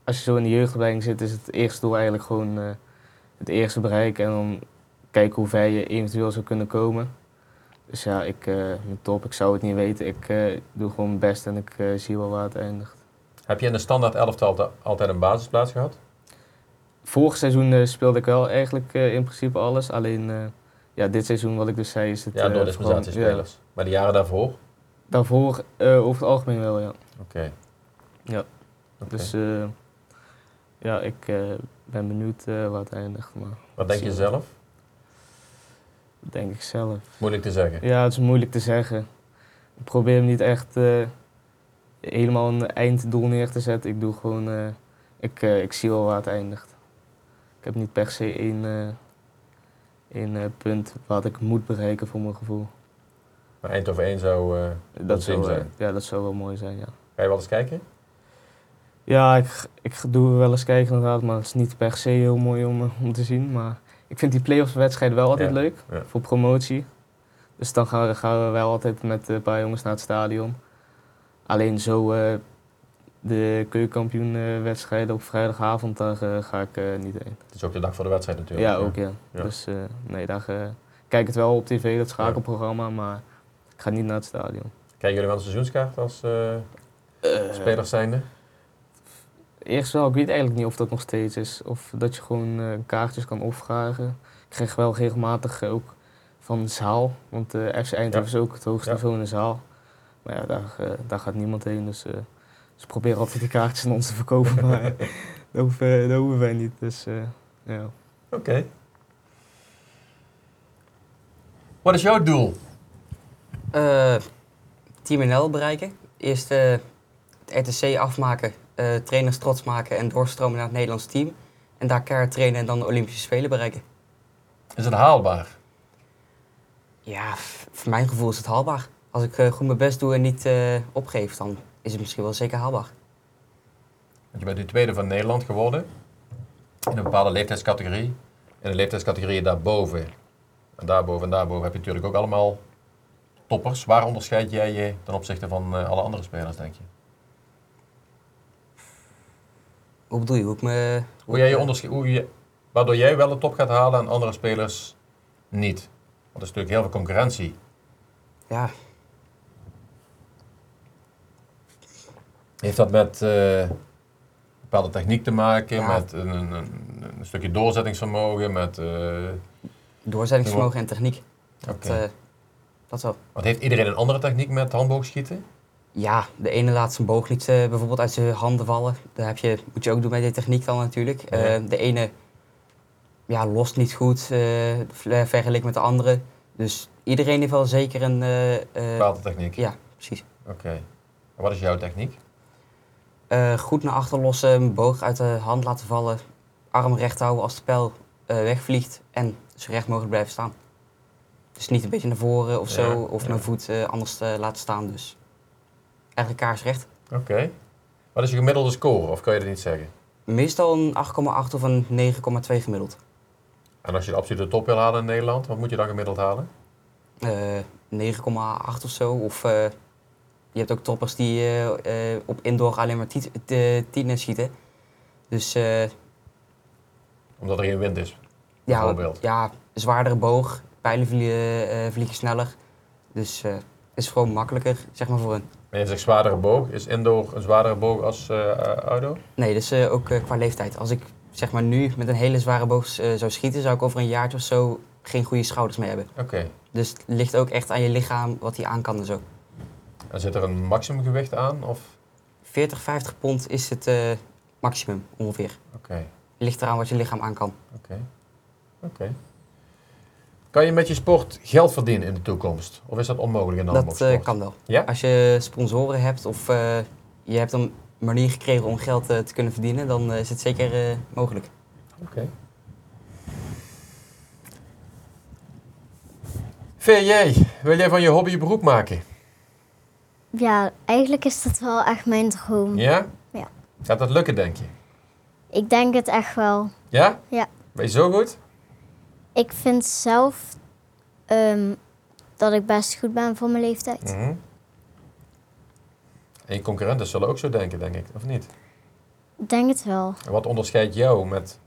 [SPEAKER 2] als je zo in de jeugdopleiding zit, is het eerste doel eigenlijk gewoon eh, het eerste bereiken. En dan kijken hoe ver je eventueel zou kunnen komen. Dus ja, ik, eh, mijn top, ik zou het niet weten. Ik eh, doe gewoon mijn best en ik eh, zie wel waar het eindigt.
[SPEAKER 1] Heb je in de standaard elftal te- altijd een basisplaats gehad?
[SPEAKER 2] Vorig seizoen eh, speelde ik wel eigenlijk eh, in principe alles. Alleen eh, ja, dit seizoen, wat ik dus zei, is het...
[SPEAKER 1] Ja,
[SPEAKER 2] eh,
[SPEAKER 1] door
[SPEAKER 2] vooral-
[SPEAKER 1] dispensatiespelers. Maar de jaren daarvoor? Oké.
[SPEAKER 2] ja, daarvoor eh, over het algemeen wel, ja. Ja.
[SPEAKER 1] Oké.
[SPEAKER 2] Dus eh, ja, ik eh, ben benieuwd eh, waar het eindigt. Maar
[SPEAKER 1] Wat denk je zelf?
[SPEAKER 2] dat denk ik zelf.
[SPEAKER 1] Moeilijk te zeggen.
[SPEAKER 2] Ja, het is moeilijk te zeggen. Ik probeer hem niet echt eh, helemaal een einddoel neer te zetten. Ik doe gewoon, eh, ik, eh, ik zie wel waar het eindigt. Ik heb niet per se één, eh, één eh, punt wat ik moet bereiken voor mijn gevoel.
[SPEAKER 1] Maar Eindhoven 1 zou... eh,
[SPEAKER 2] Dat
[SPEAKER 1] team
[SPEAKER 2] zou, eh,
[SPEAKER 1] zijn.
[SPEAKER 2] ja, dat zou wel mooi zijn, ja.
[SPEAKER 1] Ga je wel eens kijken?
[SPEAKER 2] Ja, ik, ik doe wel eens kijken inderdaad, maar het is niet per se heel mooi om, eh, om te zien. Maar ik vind die play-offs wedstrijden wel altijd
[SPEAKER 1] Ja,
[SPEAKER 2] leuk,
[SPEAKER 1] ja.
[SPEAKER 2] voor promotie. Dus dan gaan we, gaan we wel altijd met eh, een paar jongens naar het stadion. Alleen zo eh de keukenkampioenwedstrijden op vrijdagavond, daar eh, ga ik eh, niet heen.
[SPEAKER 1] Het is ook de dag voor de wedstrijd
[SPEAKER 2] Ja,
[SPEAKER 1] natuurlijk.
[SPEAKER 2] ook ja.
[SPEAKER 1] Ja.
[SPEAKER 2] Dus eh, nee, daar eh, kijk het wel op tv, dat schakelprogramma, maar ik ga niet naar het stadion.
[SPEAKER 1] Kijken jullie wel een seizoenskaart als eh,
[SPEAKER 2] Eh,
[SPEAKER 1] spelers zijnde?
[SPEAKER 2] Eerst wel, ik weet eigenlijk niet of dat nog steeds is. Of dat je gewoon eh, kaartjes kan opvragen. Ik kreeg wel regelmatig eh, ook van de zaal. Want eh FC Eindhoven is ook het hoogste
[SPEAKER 1] Ja.
[SPEAKER 2] niveau in de zaal. Maar ja, daar, eh, daar gaat niemand heen. Dus eh, ze proberen altijd die kaartjes aan ons te verkopen. maar eh, dat, hoeven, dat hoeven wij niet. Dus eh, ja.
[SPEAKER 1] Oké. Wat is jouw doel?
[SPEAKER 3] Eh, Team NL bereiken. Eerst eh, het RTC afmaken, eh, trainers trots maken en doorstromen naar het Nederlands team. En daar keihard trainen en dan de Olympische Spelen bereiken.
[SPEAKER 1] Is het haalbaar?
[SPEAKER 3] Ja, v- voor mijn gevoel is het haalbaar. Als ik eh, goed mijn best doe en niet eh, opgeef, dan is het misschien wel zeker haalbaar.
[SPEAKER 1] Want je bent nu tweede van Nederland geworden. In een bepaalde leeftijdscategorie. En de leeftijdscategorieën daarboven. En daarboven en daarboven heb je natuurlijk ook allemaal toppers. Waar onderscheid jij je ten opzichte van eh, alle andere spelers, denk je?
[SPEAKER 3] Hoe bedoel je? Hoe ik me...
[SPEAKER 1] Hoe jij je
[SPEAKER 3] ik, eh,
[SPEAKER 1] ondersche- hoe je, waardoor jij wel de top gaat halen en andere spelers niet. Want er is natuurlijk heel veel concurrentie.
[SPEAKER 3] Ja,
[SPEAKER 1] Heeft dat met eh, bepaalde techniek te maken,
[SPEAKER 3] Ja.
[SPEAKER 1] met een, een, een- een stukje doorzettingsvermogen, met... eh,
[SPEAKER 3] doorzettingsvermogen en techniek. Dat,
[SPEAKER 1] oké.
[SPEAKER 3] eh, dat wel.
[SPEAKER 1] Want heeft iedereen een andere techniek met handboogschieten?
[SPEAKER 3] Ja, de ene laat zijn boog niet eh, bijvoorbeeld uit zijn handen vallen. Dat heb je, moet je ook doen met de techniek dan natuurlijk. Eh, de ene ja, lost niet goed eh, ver- vergeleken met de andere. Dus iedereen heeft wel zeker een... eh, eh,
[SPEAKER 1] Bepaalde techniek?
[SPEAKER 3] ja, precies.
[SPEAKER 1] Oké. En wat is jouw techniek?
[SPEAKER 3] Eh, goed naar achter lossen, een boog uit de hand laten vallen. Arm recht houden als de pijl eh, wegvliegt. En zo recht mogelijk blijven staan. Dus niet een beetje naar voren of zo.
[SPEAKER 1] Ja,
[SPEAKER 3] of
[SPEAKER 1] ja.
[SPEAKER 3] mijn voet eh, anders eh, laten staan. Dus eigenlijk kaarsrecht.
[SPEAKER 1] Oké. Wat is je gemiddelde score, of kan je dat niet zeggen?
[SPEAKER 3] Meestal een 8,8 of een 9,2 gemiddeld.
[SPEAKER 1] En als je de absolute top wil halen in Nederland, wat moet je dan gemiddeld halen?
[SPEAKER 3] Eh, 9,8 of zo. Of eh, je hebt ook toppers die eh, eh, op indoor alleen maar tiet- eh, tienen schieten. Dus eh,
[SPEAKER 1] Omdat er geen wind is.
[SPEAKER 3] ja,
[SPEAKER 1] Bijvoorbeeld.
[SPEAKER 3] ja, zwaardere boog, pijlen vliegen, eh, vliegen sneller. Dus eh is gewoon makkelijker, zeg maar voor hun.
[SPEAKER 1] En je zegt zwaardere boog. Is indoor een zwaardere boog als eh outdoor?
[SPEAKER 3] Nee, dus eh, ook eh, qua leeftijd. Als ik zeg maar nu met een hele zware boog eh, zou schieten, zou ik over een jaartje of zo geen goede schouders meer hebben.
[SPEAKER 1] Oké.
[SPEAKER 3] Dus het ligt ook echt aan je lichaam wat die aan kan en zo.
[SPEAKER 1] En zit er een maximumgewicht aan? Of?
[SPEAKER 3] 40, 50 pond is het eh, maximum ongeveer.
[SPEAKER 1] Oké,
[SPEAKER 3] Ligt eraan wat je lichaam aan kan.
[SPEAKER 1] oké. Oké. Kan je met je sport geld verdienen in de toekomst? Of is dat onmogelijk in de
[SPEAKER 3] dat eh,
[SPEAKER 1] handbalsport?
[SPEAKER 3] kan wel.
[SPEAKER 1] Ja?
[SPEAKER 3] Als je sponsoren hebt of eh, je hebt een manier gekregen om geld eh, te kunnen verdienen, dan eh, is het zeker eh, mogelijk.
[SPEAKER 1] Oké. VJ, wil jij van je hobby je beroep maken?
[SPEAKER 4] Ja, eigenlijk is dat wel echt mijn droom.
[SPEAKER 1] Ja?
[SPEAKER 4] Mm. Ja.
[SPEAKER 1] Gaat dat lukken, denk je?
[SPEAKER 4] Ik denk het echt wel.
[SPEAKER 1] Ja?
[SPEAKER 4] Ja.
[SPEAKER 1] Ben je zo goed?
[SPEAKER 4] Ik vind zelf ehm, dat ik best goed ben voor mijn leeftijd.
[SPEAKER 1] Mhm. En je concurrenten zullen ook zo denken, denk ik, of niet?
[SPEAKER 4] Ik denk het wel.
[SPEAKER 1] En wat onderscheidt jou met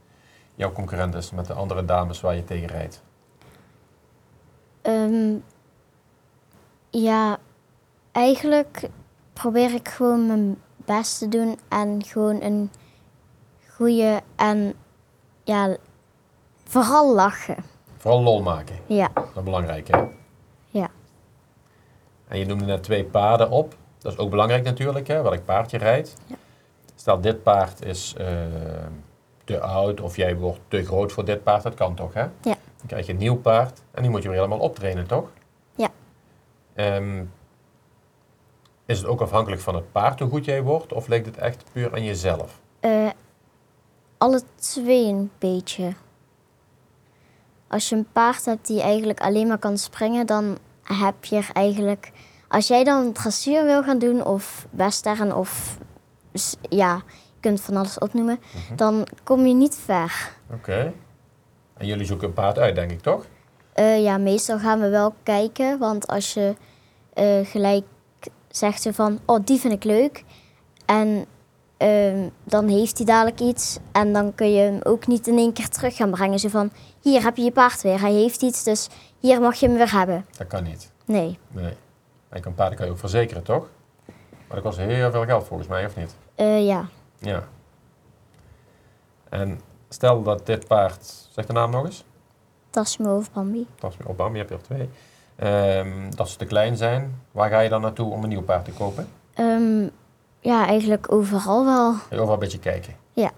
[SPEAKER 1] jouw concurrenten, met de andere dames waar je tegen rijdt?
[SPEAKER 4] Ehm, ja, eigenlijk probeer ik gewoon mijn best te doen en gewoon een goede en ja, vooral lachen.
[SPEAKER 1] Vooral lol maken,
[SPEAKER 4] Ja,
[SPEAKER 1] dat is belangrijk, hè?
[SPEAKER 4] Ja.
[SPEAKER 1] En je noemde net twee paarden op. Dat is ook belangrijk natuurlijk, hè, welk paardje rijdt.
[SPEAKER 4] Ja.
[SPEAKER 1] Stel, dit paard is eh, te oud of jij wordt te groot voor dit paard, dat kan toch, hè? Dan krijg je een nieuw paard en die moet je weer helemaal optrainen, toch?
[SPEAKER 4] Ja.
[SPEAKER 1] Ehm, is het ook afhankelijk van het paard hoe goed jij wordt of ligt het echt puur aan jezelf?
[SPEAKER 4] eh, alle twee een beetje. Als je een paard hebt die eigenlijk alleen maar kan springen, dan heb je er eigenlijk. Als jij dan dressuur wil gaan doen, of western, of s- ja, je kunt van alles opnoemen, dan kom je niet ver.
[SPEAKER 1] Oké. En jullie zoeken een paard uit, denk ik, toch?
[SPEAKER 4] Eh, ja, meestal gaan we wel kijken. Want als je eh, gelijk zegt zo van, oh, die vind ik leuk. En ehm, dan heeft hij dadelijk iets. En dan kun je hem ook niet in één keer terug gaan brengen. Zo van, hier heb je je paard weer. Hij heeft iets, dus hier mag je hem weer hebben.
[SPEAKER 1] Dat kan niet.
[SPEAKER 4] Nee,
[SPEAKER 1] Nee. En een paard kan je ook verzekeren, toch? Maar dat kost heel veel geld volgens mij, of niet?
[SPEAKER 4] Eh, ja.
[SPEAKER 1] Ja. En stel dat dit paard, zeg de naam nog eens,
[SPEAKER 4] Tassimo of Bambi.
[SPEAKER 1] Tas op Bambi heb je er twee. Ehm, dat ze te klein zijn, waar ga je dan naartoe om een nieuw paard te kopen?
[SPEAKER 4] Ehm, ja, eigenlijk overal wel.
[SPEAKER 1] Ga je overal een beetje kijken?
[SPEAKER 4] Ja.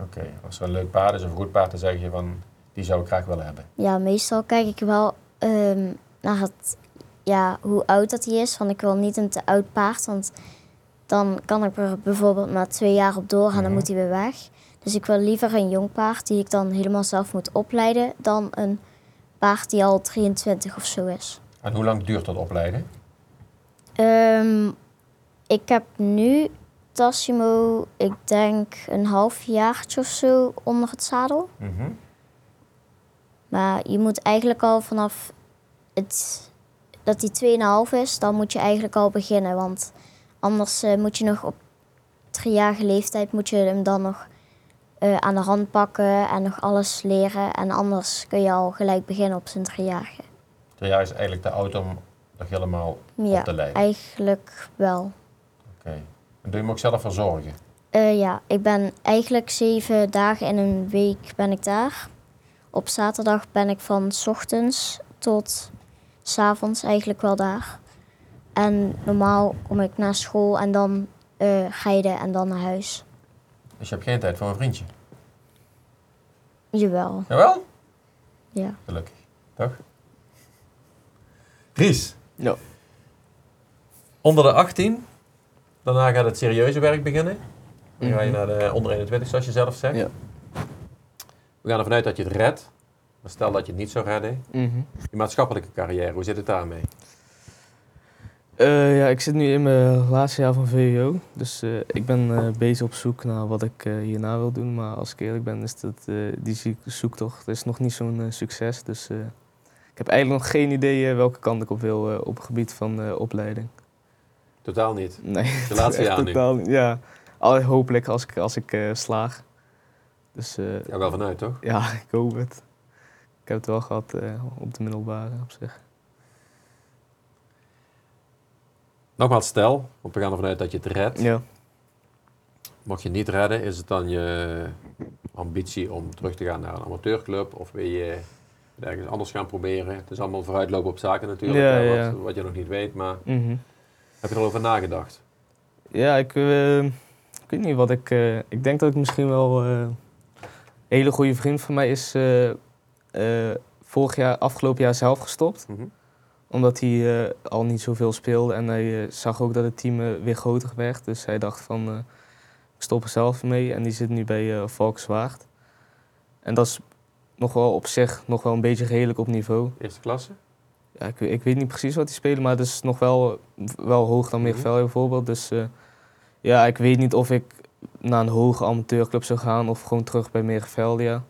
[SPEAKER 1] Oké, als er een leuk paard is of een goed paard, dan zeg je van, die zou ik graag willen hebben.
[SPEAKER 4] Ja, meestal kijk ik wel ehm, naar het, ja, hoe oud dat hij is. Want ik wil niet een te oud paard, want dan kan ik er bijvoorbeeld maar twee jaar op doorgaan en dan
[SPEAKER 1] Mhm.
[SPEAKER 4] moet hij weer weg. Dus ik wil liever een jong paard die ik dan helemaal zelf moet opleiden dan een paard die al 23 of zo is.
[SPEAKER 1] En hoe lang duurt dat opleiden?
[SPEAKER 4] Ehm, ik heb nu Tassimo, ik denk een half jaartje of zo onder het zadel.
[SPEAKER 1] Mhm.
[SPEAKER 4] Maar je moet eigenlijk al vanaf het, dat die 2,5 is, dan moet je eigenlijk al beginnen. Want anders eh, moet je nog op driejarige leeftijd moet je hem dan nog eh, aan de hand pakken en nog alles leren. En anders kun je al gelijk beginnen op zijn driejarige.
[SPEAKER 1] Twee jaar is eigenlijk te oud om nog helemaal
[SPEAKER 4] Ja,
[SPEAKER 1] op te leiden.
[SPEAKER 4] eigenlijk wel.
[SPEAKER 1] Oké. En doe je hem ook zelf verzorgen?
[SPEAKER 4] Eh, ja, ik ben eigenlijk zeven dagen in een week ben ik daar. Op zaterdag ben ik van 's ochtends tot 's avonds eigenlijk wel daar. En normaal kom ik naar school en dan eh rijden en dan naar huis.
[SPEAKER 1] Dus je hebt geen tijd voor een vriendje?
[SPEAKER 4] Jawel,
[SPEAKER 1] Jawel?
[SPEAKER 4] ja.
[SPEAKER 1] Gelukkig. Toch? Dries,
[SPEAKER 2] Ja.
[SPEAKER 1] onder de 18. Daarna gaat het serieuze werk beginnen. Dan ga je
[SPEAKER 2] Mhm.
[SPEAKER 1] naar de onder 21, zoals je zelf zegt.
[SPEAKER 2] Ja.
[SPEAKER 1] We gaan ervan uit dat je het redt. Maar stel dat je het niet zou redden.
[SPEAKER 2] Mhm.
[SPEAKER 1] Je maatschappelijke carrière, hoe zit het daarmee?
[SPEAKER 2] Eh, ja, ik zit nu in mijn laatste jaar van VWO. Dus eh, ik ben eh, bezig op zoek naar wat ik eh, hierna wil doen. Maar als ik eerlijk ben, is dat, eh, die zie- zoektocht is nog niet zo'n eh, succes. Dus eh, ik heb eigenlijk nog geen idee eh, welke kant ik op wil eh, op het gebied van eh, opleiding.
[SPEAKER 1] Totaal niet.
[SPEAKER 2] Nee,
[SPEAKER 1] De laatste
[SPEAKER 2] echt
[SPEAKER 1] jaar nu.
[SPEAKER 2] totaal niet. Ja, Al- hopelijk als ik, als ik eh, slaag. Dus eh,
[SPEAKER 1] Ja, wel vanuit, toch?
[SPEAKER 2] ja, ik hoop het. Ik heb het wel gehad eh, op de middelbare op zich.
[SPEAKER 1] Nogmaals, stel, want we gaan ervan uit dat je het redt.
[SPEAKER 2] Ja.
[SPEAKER 1] Mocht je het niet redden, is het dan je ambitie om terug te gaan naar een amateurclub? Of wil je het ergens anders gaan proberen? Het is allemaal vooruitlopen op zaken natuurlijk,
[SPEAKER 2] Ja,
[SPEAKER 1] hè, wat,
[SPEAKER 2] ja.
[SPEAKER 1] wat je nog niet weet. Maar
[SPEAKER 2] Mhm.
[SPEAKER 1] heb je er al over nagedacht?
[SPEAKER 2] Ja, ik, eh, ik weet niet wat ik. eh, ik denk dat ik misschien wel. eh, een hele goede vriend van mij is. eh, eh, vorig jaar, afgelopen jaar zelf gestopt.
[SPEAKER 1] Mhm.
[SPEAKER 2] Omdat hij eh, al niet zoveel speelde. En hij eh, zag ook dat het team eh, weer groter werd. Dus hij dacht van. eh, ik stop er zelf mee. En die zit nu bij eh Valkenswaard. En dat is nog wel op zich nog wel een beetje redelijk op niveau.
[SPEAKER 1] Eerste klasse?
[SPEAKER 2] Ja, ik, ik weet niet precies wat die spelen, maar het is nog wel, wel hoger dan
[SPEAKER 1] Mhm.
[SPEAKER 2] Meerveld bijvoorbeeld. Dus eh, ja, ik weet niet of ik naar een hoge amateurclub zou gaan of gewoon terug bij Meerveld. Ja.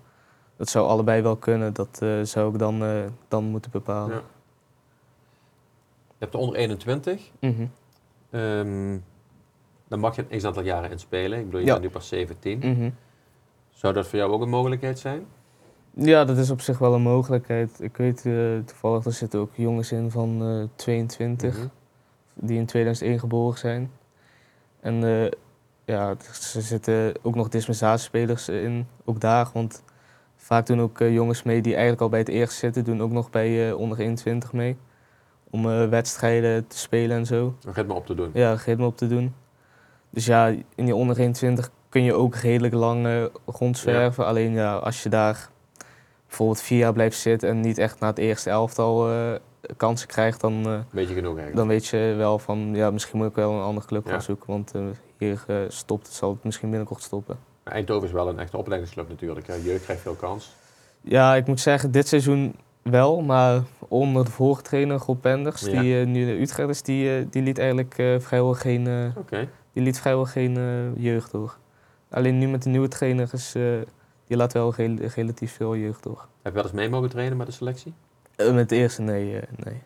[SPEAKER 2] Dat zou allebei wel kunnen. Dat eh, zou ik dan, eh, dan moeten bepalen.
[SPEAKER 1] Ja. Je hebt de onder 21.
[SPEAKER 2] Mhm.
[SPEAKER 1] Ehm dan mag je een x aantal jaren in spelen. Ik bedoel, je
[SPEAKER 2] Ja.
[SPEAKER 1] bent nu pas 17.
[SPEAKER 2] Mhm.
[SPEAKER 1] Zou dat voor jou ook een mogelijkheid zijn?
[SPEAKER 2] Ja, dat is op zich wel een mogelijkheid. Ik weet eh, toevallig, er zitten ook jongens in van eh, 22
[SPEAKER 1] Mhm.
[SPEAKER 2] die in 2001 geboren zijn. En eh, ja, er zitten ook nog dispensatiespelers in, ook daar. Want vaak doen ook eh, jongens mee die eigenlijk al bij het eerst zitten, doen ook nog bij eh, onder 21 mee. Om eh, wedstrijden te spelen en zo.
[SPEAKER 1] Om het maar op te doen.
[SPEAKER 2] Ja, ritme op te doen. Dus ja, in die onder 21 kun je ook redelijk lang eh, rondzwerven. Alleen ja, als je daar bijvoorbeeld vier jaar blijft zitten en niet echt na het eerste elftal eh, kansen krijgt, dan... eh,
[SPEAKER 1] Beetje genoeg eigenlijk.
[SPEAKER 2] dan weet je wel van, ja, misschien moet ik wel een andere club gaan
[SPEAKER 1] Ja.
[SPEAKER 2] zoeken. Want eh, hier eh, stopt het, zal het misschien binnenkort stoppen.
[SPEAKER 1] Maar Eindhoven is wel een echte opleidingsclub natuurlijk. hè. Jeugd krijgt veel kans.
[SPEAKER 2] Ja, ik moet zeggen, dit seizoen wel. Maar onder de vorige trainer, Rob Penders,
[SPEAKER 1] Ja.
[SPEAKER 2] die eh, nu in Utrecht is, die, eh, die liet eigenlijk eh, vrijwel geen, eh,
[SPEAKER 1] Oké.
[SPEAKER 2] die liet vrijwel geen eh, jeugd door. Alleen nu met de nieuwe trainer is, eh, die laat wel rel- relatief veel jeugd door.
[SPEAKER 1] Heb je wel eens mee mogen trainen met de selectie?
[SPEAKER 2] Eh, met de eerste, nee. eh, nee.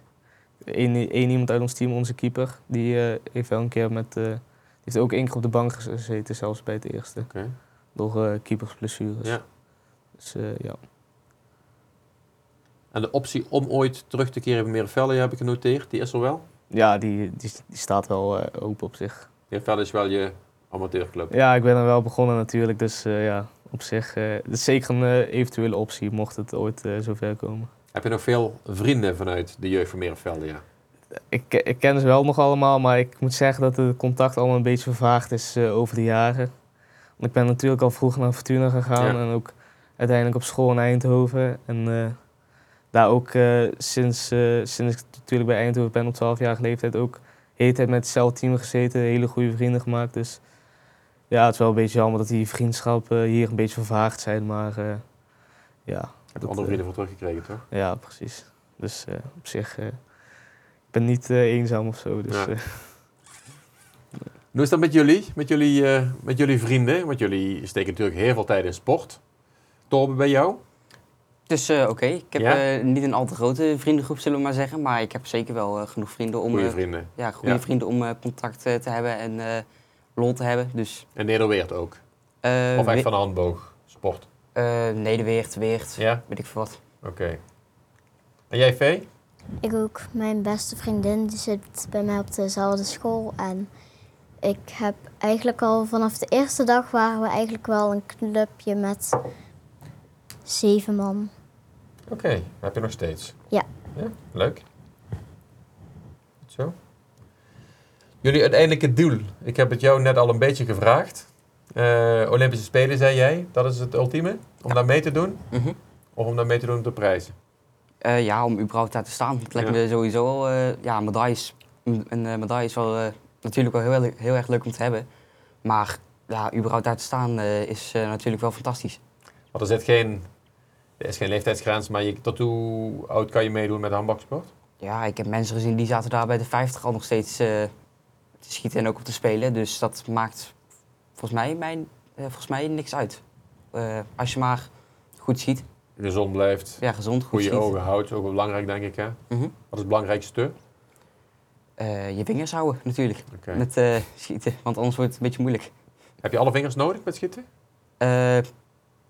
[SPEAKER 2] Eén één iemand uit ons team, onze keeper, die eh, heeft wel een keer met. eh, die heeft ook één keer op de bank gez- gezeten, zelfs bij het eerste.
[SPEAKER 1] Oké.
[SPEAKER 2] Door eh keepersblessures.
[SPEAKER 1] Ja.
[SPEAKER 2] Dus eh, ja.
[SPEAKER 1] En de optie om ooit terug te keren bij Meervelle heb ik genoteerd. Die is er wel.
[SPEAKER 2] Ja, die, die, die staat wel eh, open op zich.
[SPEAKER 1] Meervelle is wel je amateurclub.
[SPEAKER 2] Ja, ik ben er wel begonnen natuurlijk, dus eh, ja, op zich, eh, dat is zeker een eh, eventuele optie, mocht het ooit eh, zover komen.
[SPEAKER 1] Heb je nog veel vrienden vanuit de jeugd van Merenvelde? Ja.
[SPEAKER 2] Ik, ke- ik ken ze wel nog allemaal, maar ik moet zeggen dat het contact allemaal een beetje vervaagd is eh, over de jaren. Want ik ben natuurlijk al vroeg naar Fortuna gegaan
[SPEAKER 1] Ja.
[SPEAKER 2] en ook uiteindelijk op school in Eindhoven. En eh, daar ook eh, sinds, eh, sinds ik natuurlijk bij Eindhoven ben op 12-jarige leeftijd ook de hele tijd met hetzelfde team gezeten, hele goede vrienden gemaakt. Dus ja, het is wel een beetje jammer dat die vriendschappen hier een beetje vervaagd zijn, maar eh, ja.
[SPEAKER 1] Heb je
[SPEAKER 2] dat,
[SPEAKER 1] andere
[SPEAKER 2] eh,
[SPEAKER 1] vrienden voor teruggekregen, toch?
[SPEAKER 2] ja, precies. Dus eh, op zich, eh, ik ben niet eh, eenzaam of zo. Dus,
[SPEAKER 1] Ja.
[SPEAKER 2] eh,
[SPEAKER 1] En Hoe is dat met jullie? Met jullie, eh, met jullie vrienden? Want jullie steken natuurlijk heel veel tijd in sport. Torben, bij jou?
[SPEAKER 3] Dus eh, oké, ik heb
[SPEAKER 1] Ja?
[SPEAKER 3] eh, niet een al te grote vriendengroep, zullen we maar zeggen. Maar ik heb zeker wel eh, genoeg vrienden om,
[SPEAKER 1] Goede
[SPEAKER 3] eh,
[SPEAKER 1] vrienden.
[SPEAKER 3] ja, goede
[SPEAKER 1] Ja.
[SPEAKER 3] vrienden om eh, contact eh, te hebben en eh, lol te hebben. Dus,
[SPEAKER 1] En Nederweert ook.
[SPEAKER 3] eh,
[SPEAKER 1] Of
[SPEAKER 3] we-
[SPEAKER 1] echt van de handboog? Sport.
[SPEAKER 3] eh, Nederweert, Weert,
[SPEAKER 1] Ja?
[SPEAKER 3] weet ik veel wat.
[SPEAKER 1] Oké. En jij, Vee?
[SPEAKER 4] Ik ook. Mijn beste vriendin die zit bij mij op dezelfde school. En ik heb eigenlijk al vanaf de eerste dag waren we eigenlijk wel een clubje met zeven man.
[SPEAKER 1] Oké, heb je nog steeds?
[SPEAKER 4] Ja.
[SPEAKER 1] Ja, leuk. Goed Zo. Jullie uiteindelijke doel. Ik heb het jou net al een beetje gevraagd. Eh, Olympische Spelen, zei jij. Dat is het ultieme? Om daar mee te doen?
[SPEAKER 3] Mhm.
[SPEAKER 1] Of om daar mee te doen op de prijzen?
[SPEAKER 3] Eh, ja, om überhaupt daar te staan. Het lijkt
[SPEAKER 1] Ja.
[SPEAKER 3] me sowieso al, eh, ja, een medaille is, een, een, eh, medaille is wel eh, natuurlijk wel heel, heel erg leuk om te hebben. Maar ja, überhaupt daar te staan eh, is eh, natuurlijk wel fantastisch.
[SPEAKER 1] Want er zit geen, er is geen leeftijdsgrens, maar je, tot hoe oud kan je meedoen met handbalsport?
[SPEAKER 3] Ja, ik heb mensen gezien die zaten daar bij de 50 al nog steeds eh, te schieten en ook op te spelen. Dus dat maakt volgens mij, mijn, eh, volgens mij niks uit. Eh, als je maar goed schiet,
[SPEAKER 1] Gezond blijft,
[SPEAKER 3] ja, gezond, goed
[SPEAKER 1] goede
[SPEAKER 3] schiet.
[SPEAKER 1] ogen houdt, ook wel belangrijk denk ik. Hè? Wat
[SPEAKER 3] Mhm.
[SPEAKER 1] is het belangrijkste?
[SPEAKER 3] Eh, je vingers houden natuurlijk
[SPEAKER 1] Oké.
[SPEAKER 3] met eh, schieten, want anders wordt het een beetje moeilijk.
[SPEAKER 1] Heb je alle vingers nodig met schieten?
[SPEAKER 3] Eh,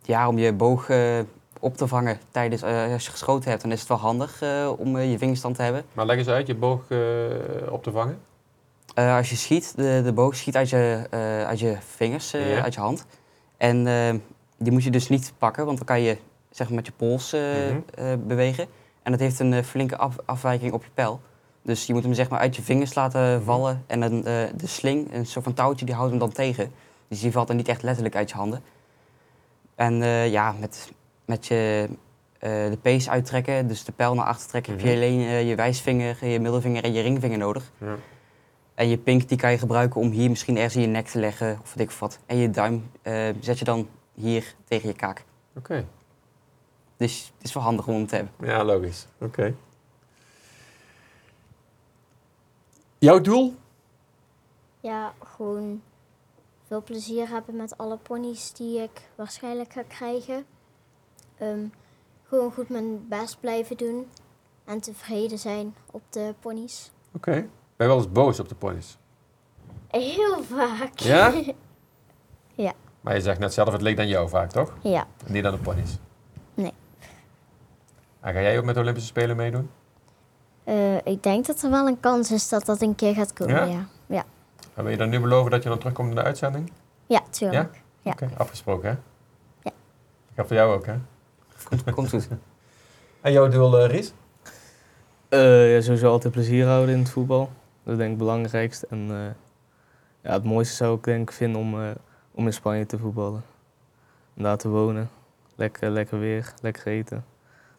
[SPEAKER 3] ja, om je boog eh, op te vangen tijdens eh, als je geschoten hebt, dan is het wel handig eh, om eh, je vingerstand te hebben.
[SPEAKER 1] Maar leg eens uit, je boog eh, op te vangen.
[SPEAKER 3] Eh, als je schiet, de, de boog schiet uit je, eh, uit je vingers, eh,
[SPEAKER 1] Ja.
[SPEAKER 3] uit je hand. En eh, die moet je dus niet pakken, want dan kan je zeg maar, met je pols eh,
[SPEAKER 1] Mhm.
[SPEAKER 3] eh, bewegen. En dat heeft een eh, flinke af- afwijking op je pijl. Dus je moet hem zeg maar, uit je vingers
[SPEAKER 1] Mhm.
[SPEAKER 3] laten vallen. En dan, eh, de sling, een soort van touwtje, die houdt hem dan tegen. Dus die valt dan niet echt letterlijk uit je handen. En eh, ja, met, met je eh, de pees uittrekken, dus de pijl naar achter trekken, heb je alleen eh, je wijsvinger, je middelvinger en je ringvinger nodig.
[SPEAKER 1] Ja.
[SPEAKER 3] En je pink die kan je gebruiken om hier misschien ergens in je nek te leggen of weet ik wat. En je duim eh, zet je dan hier tegen je kaak.
[SPEAKER 1] Oké.
[SPEAKER 3] Dus het is wel handig om hem te hebben.
[SPEAKER 1] Ja, logisch. Oké. Jouw doel?
[SPEAKER 4] Ja, gewoon veel plezier hebben met alle ponies die ik waarschijnlijk ga krijgen. Ehm, gewoon goed mijn best blijven doen en tevreden zijn op de ponies.
[SPEAKER 1] Oké. Ben je wel eens boos op de ponies?
[SPEAKER 4] Heel vaak.
[SPEAKER 1] Ja?
[SPEAKER 4] Ja.
[SPEAKER 1] Maar je zegt net zelf, het leek aan jou vaak, toch?
[SPEAKER 4] Ja,
[SPEAKER 1] Niet aan de ponies.
[SPEAKER 4] Nee.
[SPEAKER 1] En ga jij ook met de Olympische Spelen meedoen?
[SPEAKER 4] eh, ik denk dat er wel een kans is dat dat een keer gaat komen.
[SPEAKER 1] Ja?
[SPEAKER 4] Ja, ja. ja,
[SPEAKER 1] En wil je dan nu beloven dat je dan terugkomt in de uitzending?
[SPEAKER 4] tuurlijk. Ja.
[SPEAKER 1] Oké, afgesproken hè?
[SPEAKER 4] Ja.
[SPEAKER 1] Ik heb voor jou ook hè?
[SPEAKER 3] Komt, komt goed.
[SPEAKER 1] En jouw doel, eh, Ries?
[SPEAKER 2] eh, ja, sowieso altijd plezier houden in het voetbal. Dat is denk ik het belangrijkste. En eh, ja, het mooiste zou ik denk ik vinden om, eh, om in Spanje te voetballen. Om daar te wonen. Lekker, lekker weer, lekker eten.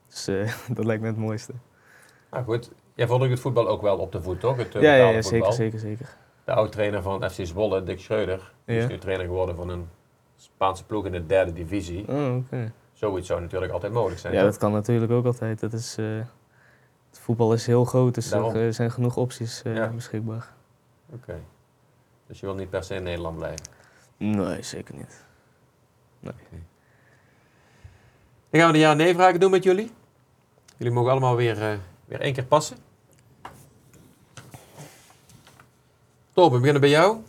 [SPEAKER 2] Dus eh, dat lijkt me het mooiste.
[SPEAKER 1] Nou goed, jij vond ook het voetbal ook wel op de voet, toch? Het eh,
[SPEAKER 2] Ja, ja,
[SPEAKER 1] betaalde
[SPEAKER 2] ja, zeker,
[SPEAKER 1] voetbal.
[SPEAKER 2] zeker, zeker.
[SPEAKER 1] De oud-trainer van FC Zwolle, Dick Schreuder, die is
[SPEAKER 2] Ja.
[SPEAKER 1] nu trainer geworden van een Spaanse ploeg in de derde divisie.
[SPEAKER 2] Oh, oké.
[SPEAKER 1] Zoiets zou natuurlijk altijd mogelijk zijn.
[SPEAKER 2] Ja,
[SPEAKER 1] toch?
[SPEAKER 2] dat kan natuurlijk ook altijd. Dat is, eh, het voetbal is heel groot, dus
[SPEAKER 1] Daarom.
[SPEAKER 2] er eh, zijn genoeg opties eh,
[SPEAKER 1] Ja.
[SPEAKER 2] beschikbaar.
[SPEAKER 1] Oké. Dus je wil niet per se in Nederland blijven.
[SPEAKER 2] Nee, zeker niet.
[SPEAKER 1] Dan gaan we de ja-nee-vragen doen met jullie. Jullie mogen allemaal weer, eh, weer één keer passen. Torben, we beginnen bij jou.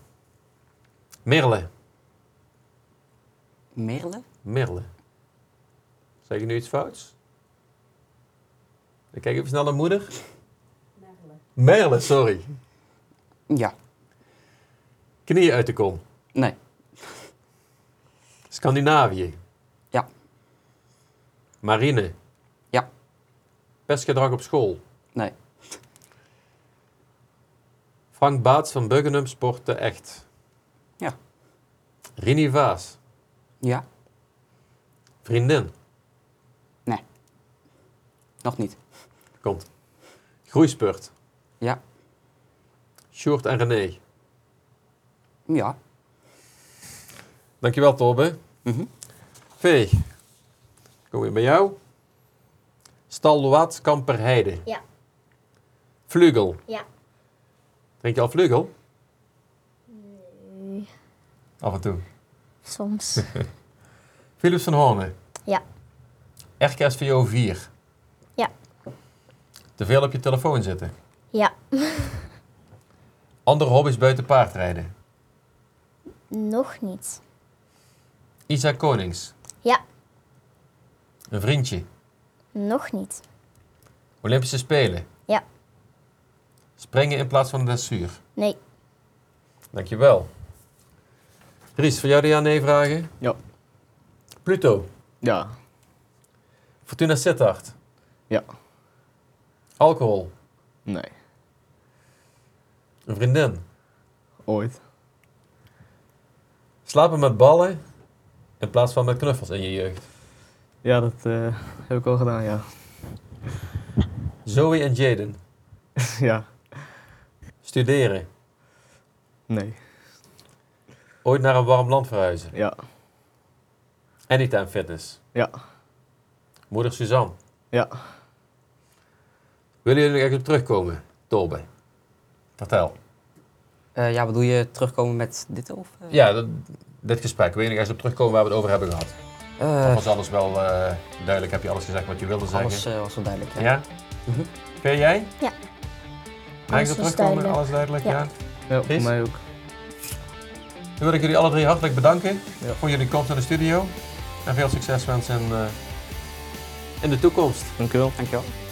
[SPEAKER 1] Merle.
[SPEAKER 3] Merle?
[SPEAKER 1] Merle. Zeg je nu iets fouts? Ik kijk even snel naar moeder. Merle. Merle, sorry.
[SPEAKER 3] Ja.
[SPEAKER 1] Knieën uit de kom.
[SPEAKER 3] Nee.
[SPEAKER 1] Scandinavië. Marine.
[SPEAKER 3] Ja.
[SPEAKER 1] Pestgedrag op school.
[SPEAKER 3] Nee.
[SPEAKER 1] Frank Baats van Buggenum sportte echt.
[SPEAKER 3] Ja.
[SPEAKER 1] Rini Vaas.
[SPEAKER 3] Ja,
[SPEAKER 1] Vriendin.
[SPEAKER 3] nog niet.
[SPEAKER 1] Komt. Groeispurt.
[SPEAKER 3] Ja.
[SPEAKER 1] Sjoerd en René.
[SPEAKER 3] Ja.
[SPEAKER 1] Dankjewel, Torben.
[SPEAKER 3] Mhm.
[SPEAKER 1] Vee. Kom weer bij jou. Stalwaard Kamperheide.
[SPEAKER 4] Ja.
[SPEAKER 1] Vlugel.
[SPEAKER 4] Ja.
[SPEAKER 1] Drink je al vlugel? Af en toe.
[SPEAKER 4] Soms.
[SPEAKER 1] Philips van Hoornen.
[SPEAKER 4] Ja.
[SPEAKER 1] RKSVO 4.
[SPEAKER 4] Ja.
[SPEAKER 1] Te veel op je telefoon zitten.
[SPEAKER 4] ja.
[SPEAKER 1] Andere hobby's buiten paardrijden.
[SPEAKER 4] Nog niet.
[SPEAKER 1] Isa Konings.
[SPEAKER 4] Ja.
[SPEAKER 1] Een vriendje.
[SPEAKER 4] Nog niet.
[SPEAKER 1] Olympische Spelen.
[SPEAKER 4] Ja.
[SPEAKER 1] Springen in plaats van de dressuur.
[SPEAKER 4] Nee.
[SPEAKER 1] Dankjewel. Ries, voor jou de ja-nee vragen?
[SPEAKER 2] Ja.
[SPEAKER 1] Pluto.
[SPEAKER 2] Ja,
[SPEAKER 1] Fortuna Sittard.
[SPEAKER 2] Ja.
[SPEAKER 1] Alcohol.
[SPEAKER 2] nee.
[SPEAKER 1] Een vriendin.
[SPEAKER 2] Ooit.
[SPEAKER 1] Slapen met ballen in plaats van met knuffels in je jeugd.
[SPEAKER 2] Ja, dat eh, heb ik al gedaan, ja.
[SPEAKER 1] Zoe en Jaden.
[SPEAKER 2] ja,
[SPEAKER 1] Studeren.
[SPEAKER 2] nee.
[SPEAKER 1] Ooit naar een warm land verhuizen.
[SPEAKER 2] Ja,
[SPEAKER 1] Anytime Fitness.
[SPEAKER 2] Ja.
[SPEAKER 1] Moeder Suzanne.
[SPEAKER 2] Ja.
[SPEAKER 1] Willen jullie er echt op terugkomen, Tolbe? Vertel.
[SPEAKER 3] Eh, ja, bedoel je terugkomen met dit? Of, eh?
[SPEAKER 1] Ja, dat, dit gesprek. Wil je er echt op terugkomen waar we het over hebben gehad?
[SPEAKER 3] Eh,
[SPEAKER 1] Was alles wel eh, duidelijk? Heb je alles gezegd wat je wilde zeggen?
[SPEAKER 3] alles eh, was wel duidelijk. Ja.
[SPEAKER 1] Ja?
[SPEAKER 3] Mhm.
[SPEAKER 1] Vind jij?
[SPEAKER 4] Ja.
[SPEAKER 1] Nergens
[SPEAKER 4] Alles
[SPEAKER 1] op
[SPEAKER 4] was
[SPEAKER 1] terugkomen,
[SPEAKER 4] duidelijk.
[SPEAKER 1] alles duidelijk, ja.
[SPEAKER 4] Ja.
[SPEAKER 2] ja
[SPEAKER 1] Is?
[SPEAKER 2] voor mij ook.
[SPEAKER 1] Dan wil ik jullie alle drie hartelijk bedanken
[SPEAKER 2] Ja.
[SPEAKER 1] voor jullie komst naar de studio. En veel succes wensen eh, in de toekomst.
[SPEAKER 2] Dankjewel.
[SPEAKER 3] Dankjewel.